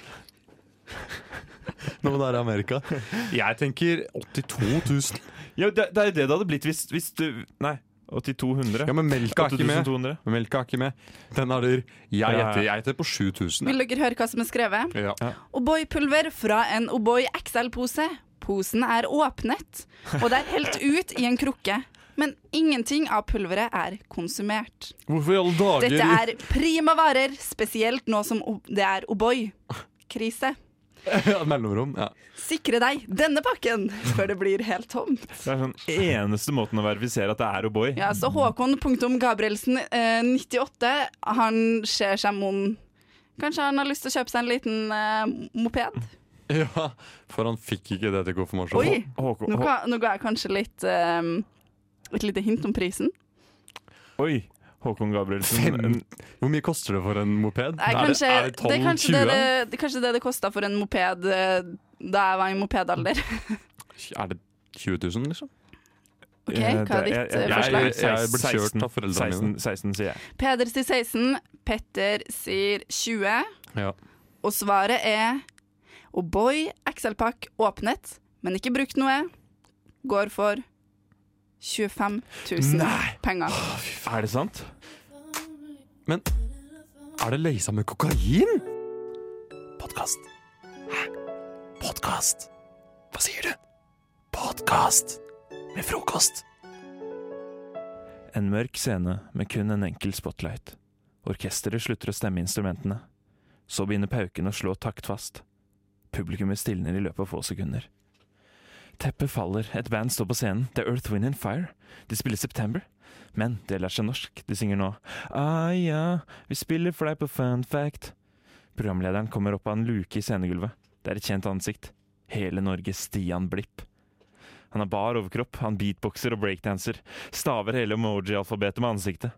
S5: Nå må det være Amerika. Jeg tenker 82 000.
S3: Ja, det, det er jo det det hadde blitt hvis, hvis du Nei, 8200.
S5: Ja, men melka er ikke med.
S3: 8200.
S5: Melka er ikke med. Den er dyr. Jeg
S3: Ja, ja.
S5: gjetter jeg gjetter på 7000.
S12: Vil dere høre hva som er skrevet?
S5: Ja.
S12: O'boy-pulver fra en O'boy XL-pose. Posen er åpnet, og det er helt ut i en krukke. Men ingenting av pulveret er konsumert.
S5: Hvorfor i alle dager
S12: Dette er prima varer, spesielt nå som O- det er O'boy-krise.
S5: Ja, Mellomrom. Ja.
S12: Sikre deg denne pakken før det blir helt tom.
S3: Det er sånn eneste måten å verifisere at det er O'boy.
S12: Ja, så Håkon.Gabrielsen, eh, 98, han ser seg mon. Kanskje han har lyst til å kjøpe seg en liten eh, moped?
S5: ja, for han fikk ikke det til konfirmasjon.
S12: Oi, nå, ga- nå ga jeg kanskje litt eh, et lite hint om prisen.
S3: Oi, Håkon Gabrielsen.
S5: Fem, Mm, hvor mye koster det for en moped?
S12: Nei, kanskje,
S5: er det, er det 12,
S12: det er kanskje det
S5: 20?
S12: det, det, er kanskje det det kosta for en moped eh, da jeg var i mopedalder.
S5: Er det 20 000, liksom?
S12: Ok, hva er ditt, eh, forslag?
S5: Jeg, jeg, jeg ble kjørt av foreldrene
S3: 16,
S5: mine.
S3: 16, sier jeg.
S12: Peder sier 16, Petter sier 20,
S5: Ja.
S12: og svaret er O'boy XL-pakk åpnet, men ikke brukt noe, går for 25 000 penger.
S3: Er det sant?
S5: Men er det leisa med kokain?
S13: Podkast. Hæ? Podkast? Hva sier du? Podkast med frokost.
S3: En mørk scene med kun en enkel spotlight. Orkesteret slutter å stemme instrumentene.
S13: Så begynner pauken å slå taktfast. Publikummet stilner i løpet av få sekunder. Teppet faller, et band står på scenen. Det er Earth, Wind and Fire. De spiller September. Men de lærer seg norsk. De synger nå Ah ja, vi spiller for deg på Fun Fact. Programlederen kommer opp av en luke i scenegulvet. Det er et kjent ansikt. Hele Norges Stian Blipp. Han har bar overkropp, han beatboxer og breakdanser. Staver hele emoji-alfabetet med ansiktet.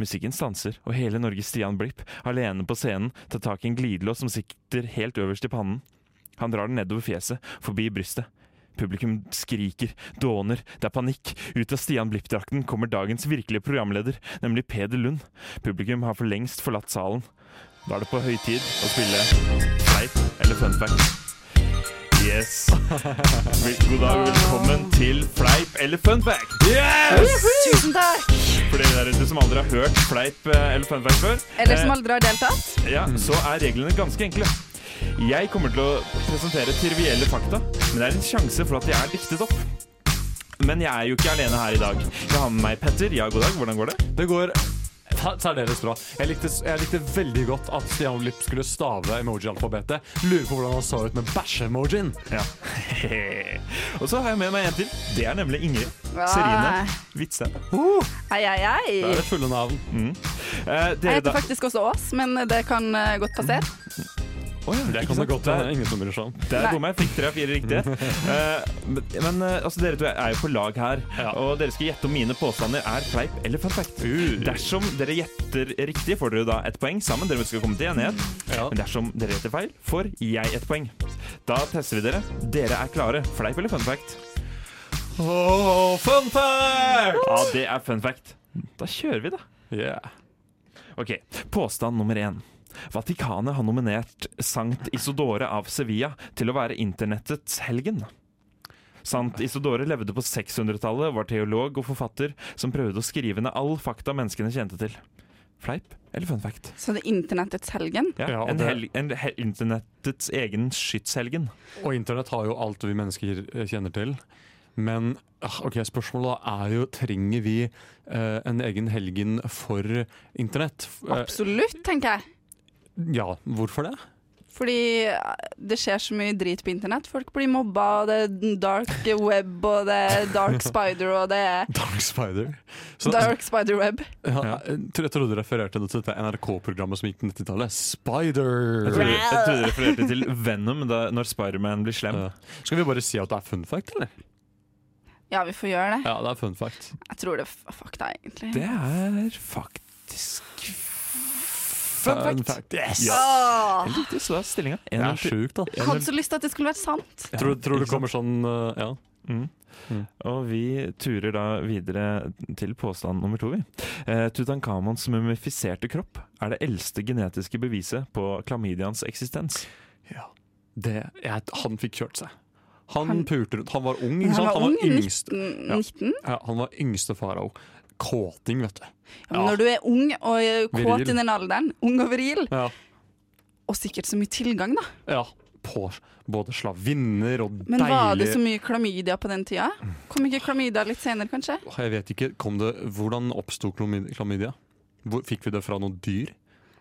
S13: Musikken stanser, og hele Norges Stian Blipp, alene på scenen, tar tak i en glidelås som sitter helt øverst i pannen. Han drar den nedover fjeset, forbi brystet. Publikum skriker, dåner, det er panikk. Ut av Stian Blipp-drakten kommer dagens virkelige programleder, nemlig Peder Lund. Publikum har for lengst forlatt salen. Da er det på høy tid å spille fleip eller fun fact. Yes. Vel- God dag og velkommen til fleip eller fun fact. Yes!
S12: Tusen takk!
S13: For dere der ute som aldri har hørt fleip eh, eller fun fact før.
S12: Eller som
S13: eh,
S12: aldri har deltatt.
S13: ja, så er reglene ganske enkle. Jeg kommer til å presentere trivielle fakta, men det er en sjanse for at de er diktet opp. Men jeg er jo ikke alene her i dag. Jeg har med meg Petter. Ja, god dag. Hvordan går det?
S5: Det går ta- særdeles bra. Jeg likte, jeg likte veldig godt at Stian Blipp skulle stave emoji-alfabetet. Lurer på hvordan han så ut med bæsje-emojien.
S13: Ja. Og så har jeg med meg en til. Det er nemlig Ingrid
S12: Nei.
S13: Serine Hvitsten.
S12: Ai, ai, ai.
S13: Da er det fulle navn. Mm. Eh,
S12: Jeg
S13: dere
S12: heter
S13: da
S12: faktisk også Ås, men det kan eh, godt passere.
S13: Å ja,
S5: Det
S13: ikke
S5: kan det
S13: sant?
S5: godt
S13: Der-
S5: være. Ingen som bryr seg om.
S13: Der
S12: Nei.
S13: bomma jeg. Fikk tre-fire riktige. Eh, men men eh, altså, dere to er jo på lag her, og dere skal gjette om mine påstander er fleip eller fun fact.
S5: Uh.
S13: Dersom dere gjetter riktig, får dere da et poeng sammen. Dere skal komme til enighet. Men dersom dere gjetter feil, får jeg et poeng. Da tester vi dere. Dere er klare. Fleip eller fun fact?
S5: Oh, fun fact!
S13: Ja, det er fun fact. Da kjører vi, da. Ok, Påstand nummer én. Vatikanet har nominert Sankt Isodore av Sevilla til å være internettets helgen. Sant Isodore levde på 600-tallet, var teolog og forfatter som prøvde å skrive ned all fakta menneskene kjente til. Fleip eller fun fact?
S12: Så det er internettets helgen.
S13: Ja,
S5: Ja, og
S13: en
S5: det-
S13: hel en he internettets egen skytshelgen.
S5: Og internett har jo alt vi mennesker eh, kjenner til. Men ah, ok, spørsmålet da er jo trenger vi eh, en egen helgen for internett. F- eh,
S12: Absolutt, tenker jeg.
S5: ja, hvorfor det?
S12: Fordi eh, det skjer så mye drit på internett. Folk blir mobba, og det er dark web, og det er dark spider, og det er
S5: Dark Spider. altså,
S12: dark spider web.
S5: Ja, jeg tror- jeg trodde du refererte til dette NRK-programmet som gikk på 90-tallet. Spider!
S13: Jeg trodde, jeg trodde det refererte til Venom da, når Spiderman blir slem.
S5: Skal vi bare si at det er fun fact, eller?
S12: Ja, vi får gjøre det.
S5: Ja, det er fun fact.
S12: Jeg tror det er f- fakta, egentlig.
S13: Det er faktisk fun fact.
S5: Fun fact, yes!
S13: Ja.
S12: Åh.
S13: Jeg likte så da stillinga.
S5: Det er sjukt, da.
S12: Jeg hadde så lyst til at det skulle vært sant.
S5: Tror, tror
S13: Ikke
S5: du kommer sånn eh, Ja.
S13: Mm. Og vi turer da videre til påstand nummer to. vi. Eh, Tutankhamons mumifiserte kropp er det eldste genetiske beviset på klamydians eksistens.
S5: Det, jeg, han fikk kjørt seg. Han,
S12: Han-
S5: pulte rundt. Han var ung,
S12: Han
S5: ikke sant?
S12: var
S5: Han
S12: ung,
S5: var yngste,
S12: 19.
S5: ja.
S12: 19.
S5: Ja, han var yngste farao. Kåting, vet du.
S12: Men når du er ung og eh, kåt
S5: Viril.
S12: i den alderen, ung og viril,
S5: Ja,
S12: og sikkert så mye tilgang, da.
S5: ja. På både slavinner og
S12: Men
S5: deilige
S12: var det så mye klamydia på den tida? Kom ikke klamydia litt senere, kanskje?
S5: Åh, Jeg vet ikke, kom det, Hvordan oppsto klamy- klamydia? Hvor, fikk vi det fra noen dyr?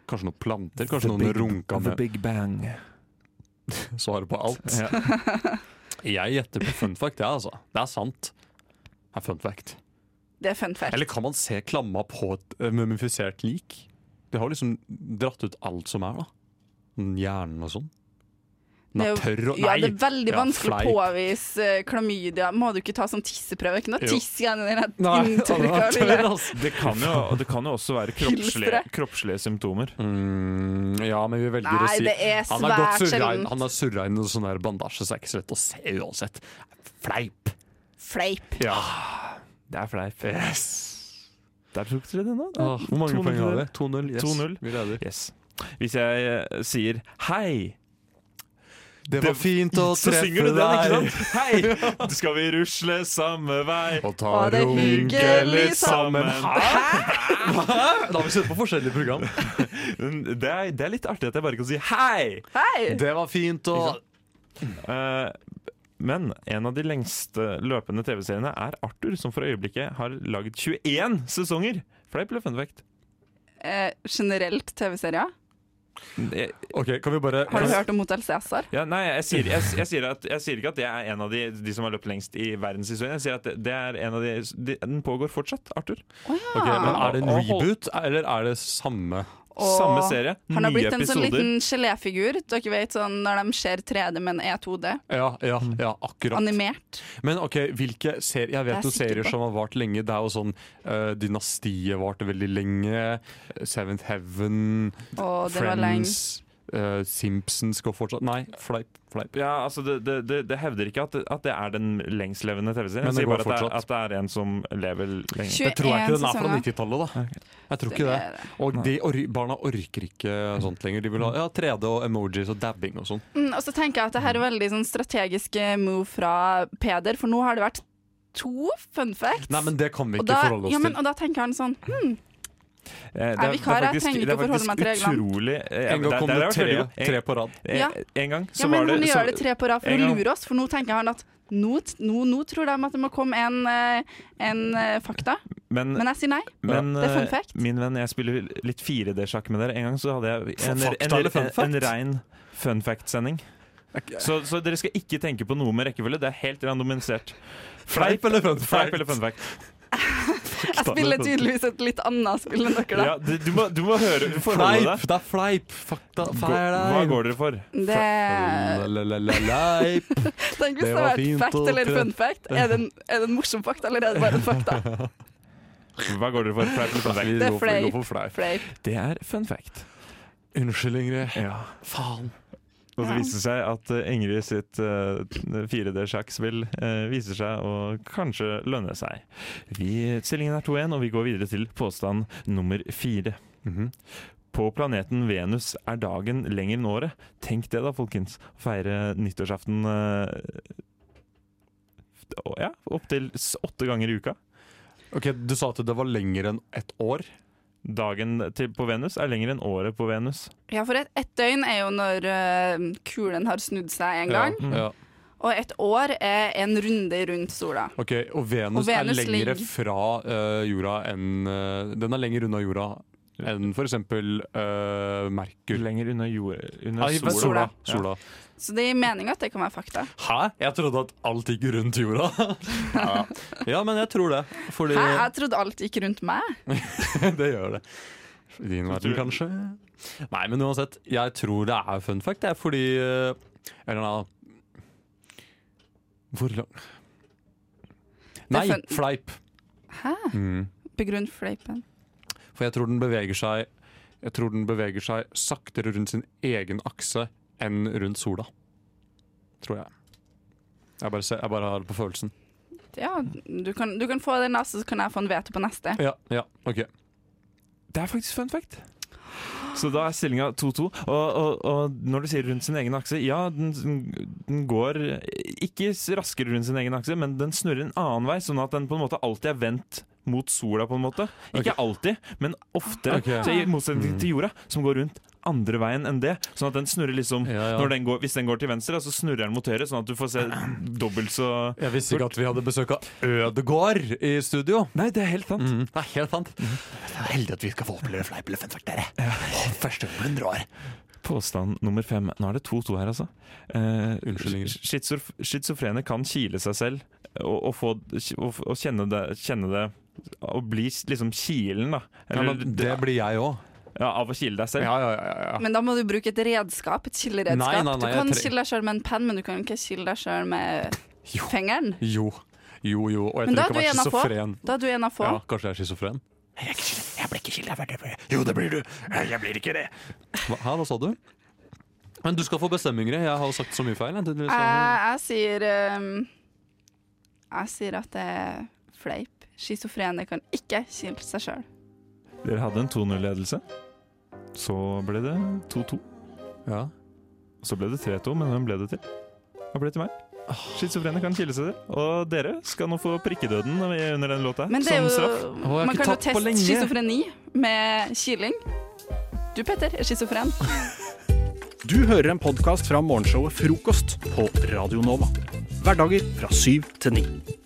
S5: Kanskje noen planter? Kanskje noen runka
S13: The
S5: med
S13: Big Bang.
S5: svaret på alt?
S13: Ja.
S5: jeg gjetter på fun fact, jeg, ja, altså. Det er sant. Det er fun fact.
S12: Det er fun fact.
S5: Eller kan man se klamma på et eh, mumifisert lik? De har liksom dratt ut alt som er, da. Den Hjernen og sånn. Den er
S12: Det er jo-
S5: tørr og
S12: Ja,
S5: Nei!
S12: det er veldig
S5: Ja,
S12: vanskelig å
S5: fleip.
S12: påvise eh, klamydia. Må du ikke ta sånn tisseprøve? Ikke noe
S13: Jo.
S12: tiss igjen i den
S5: Nei, altså,
S12: der inntrykka
S5: det var tørr,
S12: lille.
S5: ass.
S13: Det kan jo, og det kan jo også være kroppslige,
S12: Pilsfrø.
S13: kroppslige symptomer.
S5: Mm, Ja, men vi velger å
S12: Nei,
S5: si
S12: det er
S5: Han har
S12: svært
S5: gått surra inn-
S12: sjeldent.
S5: Han har surra inn en sånn der bandasje, så det er ikke så lett å se uansett. Fleip!
S12: Fleip.
S5: Ja.
S13: Det er fleip. Der tok dere det nå. Det er
S5: Åh, hvor mange
S13: 2-0
S5: poeng har
S13: til
S5: vi?
S13: dere.
S5: 2-0. Yes.
S13: 2-0.
S5: Vi leder.
S13: Yes. Hvis jeg eh, sier hei
S5: Det var fint å
S13: Så
S5: treffe
S13: synger du den,
S5: deg.
S13: ikke sant? Hei! Skal vi rusle samme vei?
S5: Og
S12: Og det er hyggelig sammen.
S5: Da har vi sett på forskjellige program.
S13: Det er, det er litt artig at jeg bare kan si hei!
S12: Hei!
S5: Det var fint å
S13: Eh, men en av de lengste løpende TV-seriene er Arthur, som for øyeblikket har lagd 21 sesonger. Fleip eller fun fact?
S12: Eh, generelt TV-serier?
S5: Ok, kan vi bare
S12: Har du hørt om Hotell Cæsar?
S13: Ja, nei, jeg sier, jeg, jeg, sier at, jeg sier ikke at det er en av de, de som har løpt lengst i verdenshistorien. Jeg sier at det, det er en av de, de Den pågår fortsatt, Arthur.
S5: Ok, men Er det
S13: Og-
S5: en
S13: og hold-
S5: reboot, eller er det samme?
S12: Og Han har blitt en sånn liten geléfigur. Dere vet sånn når de ser 3D, men er 2D.
S5: Ja, ja, ja, akkurat.
S12: Animert.
S5: Men ok, hvilke serier Mm. Jeg
S12: Det er
S5: vet jo
S12: jeg sikker
S5: serier
S12: på.
S5: som har vart lenge. Det er jo sånn eh, Dynastiet varte veldig lenge. Seventh Heaven,
S12: Å, det var
S5: Friends eh, Simpsons går fortsatt Nei, fleip. fleip.
S13: Ja, altså det, det, det, det hevder ikke at, at det er den lengstlevende TV-serien. Jeg
S5: Men det
S13: sier
S5: går
S13: bare at det, er,
S5: fortsatt.
S13: at det er en som lever lenge.
S5: Det tror jeg ikke den er fra
S12: 91
S5: 90-tallet, da. Jeg tror
S12: Det
S5: ikke det.
S12: er det.
S5: Og de or barna orker ikke sånt lenger. De vil ha ja, 3D og emojis og dabbing og sånn.
S12: Mm, og så tenker jeg at det her er veldig sånn strategisk eh, move fra Peder, for nå har det vært to fun facts.
S5: Nei, men det kan vi
S12: og,
S5: ikke
S12: da,
S5: forholde oss
S12: ja, men,
S5: til.
S12: og da tenker han sånn hm,
S13: Eh, det
S12: Jeg er vikar, jeg
S13: faktisk-
S12: trenger ikke
S13: det er
S12: å forholde
S13: faktisk
S12: meg til reglene.
S13: Utrolig, eh,
S5: En gang
S13: det-
S5: kom
S13: det
S5: det
S13: har vært
S5: tre-
S13: veldig god.
S5: tre på rad.
S13: Eh,
S12: Ja.
S13: En gang så
S12: Ja, men
S13: var det
S12: han
S13: så-
S12: gjør det tre på rad for
S13: en
S12: å
S13: gang-
S12: lure oss, for nå tenker han at nå, t- nå, nå tror de at det må komme en, eh, en eh, fakta.
S13: Men,
S12: Men jeg sier nei.
S13: men,
S12: det er fun
S13: eh,
S12: fact.
S13: Min venn, jeg spiller litt 4D-sjakk med dere. En gang så hadde jeg en,
S5: Fakta
S13: en,
S5: eller fun
S13: en,
S5: fact?
S13: en rein fun fact-sending. Så, så dere skal ikke tenke på noe med rekkefølge. Det er helt randomisert.
S5: Fleip eller fun fact?
S13: Fleip eller fun fact?
S12: Jeg spiller tydeligvis et litt annet spill enn dere, da.
S13: Ja, du, du, må, du må høre du får holde
S5: Fleip! Det er fleip! Fakta,
S13: deg. Gå-
S5: feil!
S13: Hva går dere for?
S5: Eh.
S12: Det
S5: Fleip!
S12: Tenk hvis
S5: Det var
S12: det hadde vært
S5: fint
S12: fact
S5: å
S12: eller
S5: prøve.
S12: fun fact. Er det en, er det en morsom fact, eller er det bare en fakta?
S13: Hva går dere for? Fleip eller fun fact?
S12: Det er fleip. Fleip.
S13: Det er fun fact.
S5: Unnskyld, Ingrid.
S13: Ja.
S5: Faen.
S13: Og det viste seg at eh, Ingrid sitt eh, 4D-sjakkspill eh, viser seg å kanskje lønne seg. Vi, stillingen er 2-1, og vi går videre til påstand nummer fire. På planeten Venus er dagen lenger enn året. Tenk det da, folkens. Å Feire nyttårsaften eh, å- ja, opptil s- åtte ganger i uka.
S5: Ok, Du sa at det var lenger enn ett år?
S13: Dagen til, på Venus er lenger enn året på Venus.
S12: Ja, for et, et døgn er jo når eh, kulen har snudd seg en gang.
S13: Mm.
S5: Ja.
S12: Og et år er en runde rundt sola.
S5: Ok, Og Venus,
S12: Og Venus
S5: er lengre
S12: ligger-
S5: fra eh, jorda enn eh, Den er lenger unna jorda enn f.eks. Uh, Merkur.
S13: Lenger unna jorda
S5: Nei,
S13: sola.
S5: sola.
S13: Ja.
S5: sola.
S12: Så det gir mening at det kan være fakta.
S5: Hæ? Jeg trodde at alt gikk rundt jorda. ja. ja, men jeg tror det. Fordi
S12: Hæ, jeg trodde alt gikk rundt meg.
S5: det gjør det. I din verden, kanskje? Nei, men uansett. Jeg tror det er fun fact, det er fordi eh, Eller nei Hvor lang Nei,
S12: fun-
S5: fleip.
S12: Hæ?
S5: Mm.
S12: Begrunn fleipen.
S5: For jeg tror den beveger seg Jeg tror den beveger seg saktere rundt sin egen akse enn rundt sola. Tror jeg. Jeg bare, ser, jeg bare har det på følelsen.
S12: Ja, du kan, du kan få den neste, så kan jeg få en veto på neste.
S5: Ja, ja, ok.
S13: Det er faktisk fun fact. Så da er stillinga 2-2. Og, og, og når du sier rundt sin egen akse Ja, den, den går ikke raskere rundt sin egen akse, men den snurrer en annen vei, sånn at den på en måte alltid er vendt mot sola, på en måte. Ikke alltid, men oftere.
S5: Ok.
S13: Så I motsetning til jorda, som går rundt andre veien enn det. Sånn at den snurrer liksom Når den går, Hvis den går til venstre, så snurrer den mot høyre, sånn at du får se dobbelt så
S5: Jeg visste ikke at vi hadde besøk av Ødegård i studio. Mm.
S13: Nei, det er helt sant.
S5: Det er helt sant. Det er heldig at vi skal få oppleve fleip eller fun fact, dere. Å, Første gang på 100 år.
S13: Påstand nummer fem. Nå er det 2-2 her, altså. Eh,
S5: Unnskyld, Ingrid.
S13: sch- schizof schizofrene kan kile seg selv og, og, få, og, og kjenne det Kjenne det og bli s- liksom kilen, da.
S5: Ja, men det blir jeg òg.
S13: Ja, av å kile deg selv?
S5: Ja, ja, ja, ja.
S12: Men da må du bruke et redskap, et
S5: Nei,
S12: kilderedskap.
S5: nei,
S12: Du
S5: nei,
S12: kan
S5: jeg tre-
S12: kille deg sjøl med en penn, men du kan ikke kille deg sjøl med fingeren.
S5: Jo. Jo, jo. Og jeg
S12: Men da
S5: trenger
S12: er du
S5: ikke
S12: en
S5: være
S12: av få.
S5: schizofren.
S12: Da er du en av få.
S5: Ja, kanskje jeg er schizofren? Jeg blir ikke kilda. Jo, det blir du. Jeg blir ikke det. Hva, hæ, hva sa du? Men du skal få bestemme, Ingrid. Jeg har jo sagt så mye feil. jeg. Du- du- så-
S12: Jeg, jeg sier ehm, Jeg sier at det er fleip. Schizofrene kan ikke kile seg sjøl.
S13: Dere hadde en 2-0-ledelse. Så ble det 2-2.
S5: Ja.
S13: Så ble det 3-2, men hvem ble det til? Hva ble det til meg?
S5: Ah.
S13: Schizofrene kan kile seg selv. Og dere skal nå få prikkedøden under den låta.
S12: Men det er
S13: som
S12: jo,
S13: straff.
S12: man kan jo teste schizofreni med kiling. Du, Petter, er schizofren.
S1: Du hører en podkast fra morgenshowet Frokost på Radio Nova. Hverdager fra syv til ni.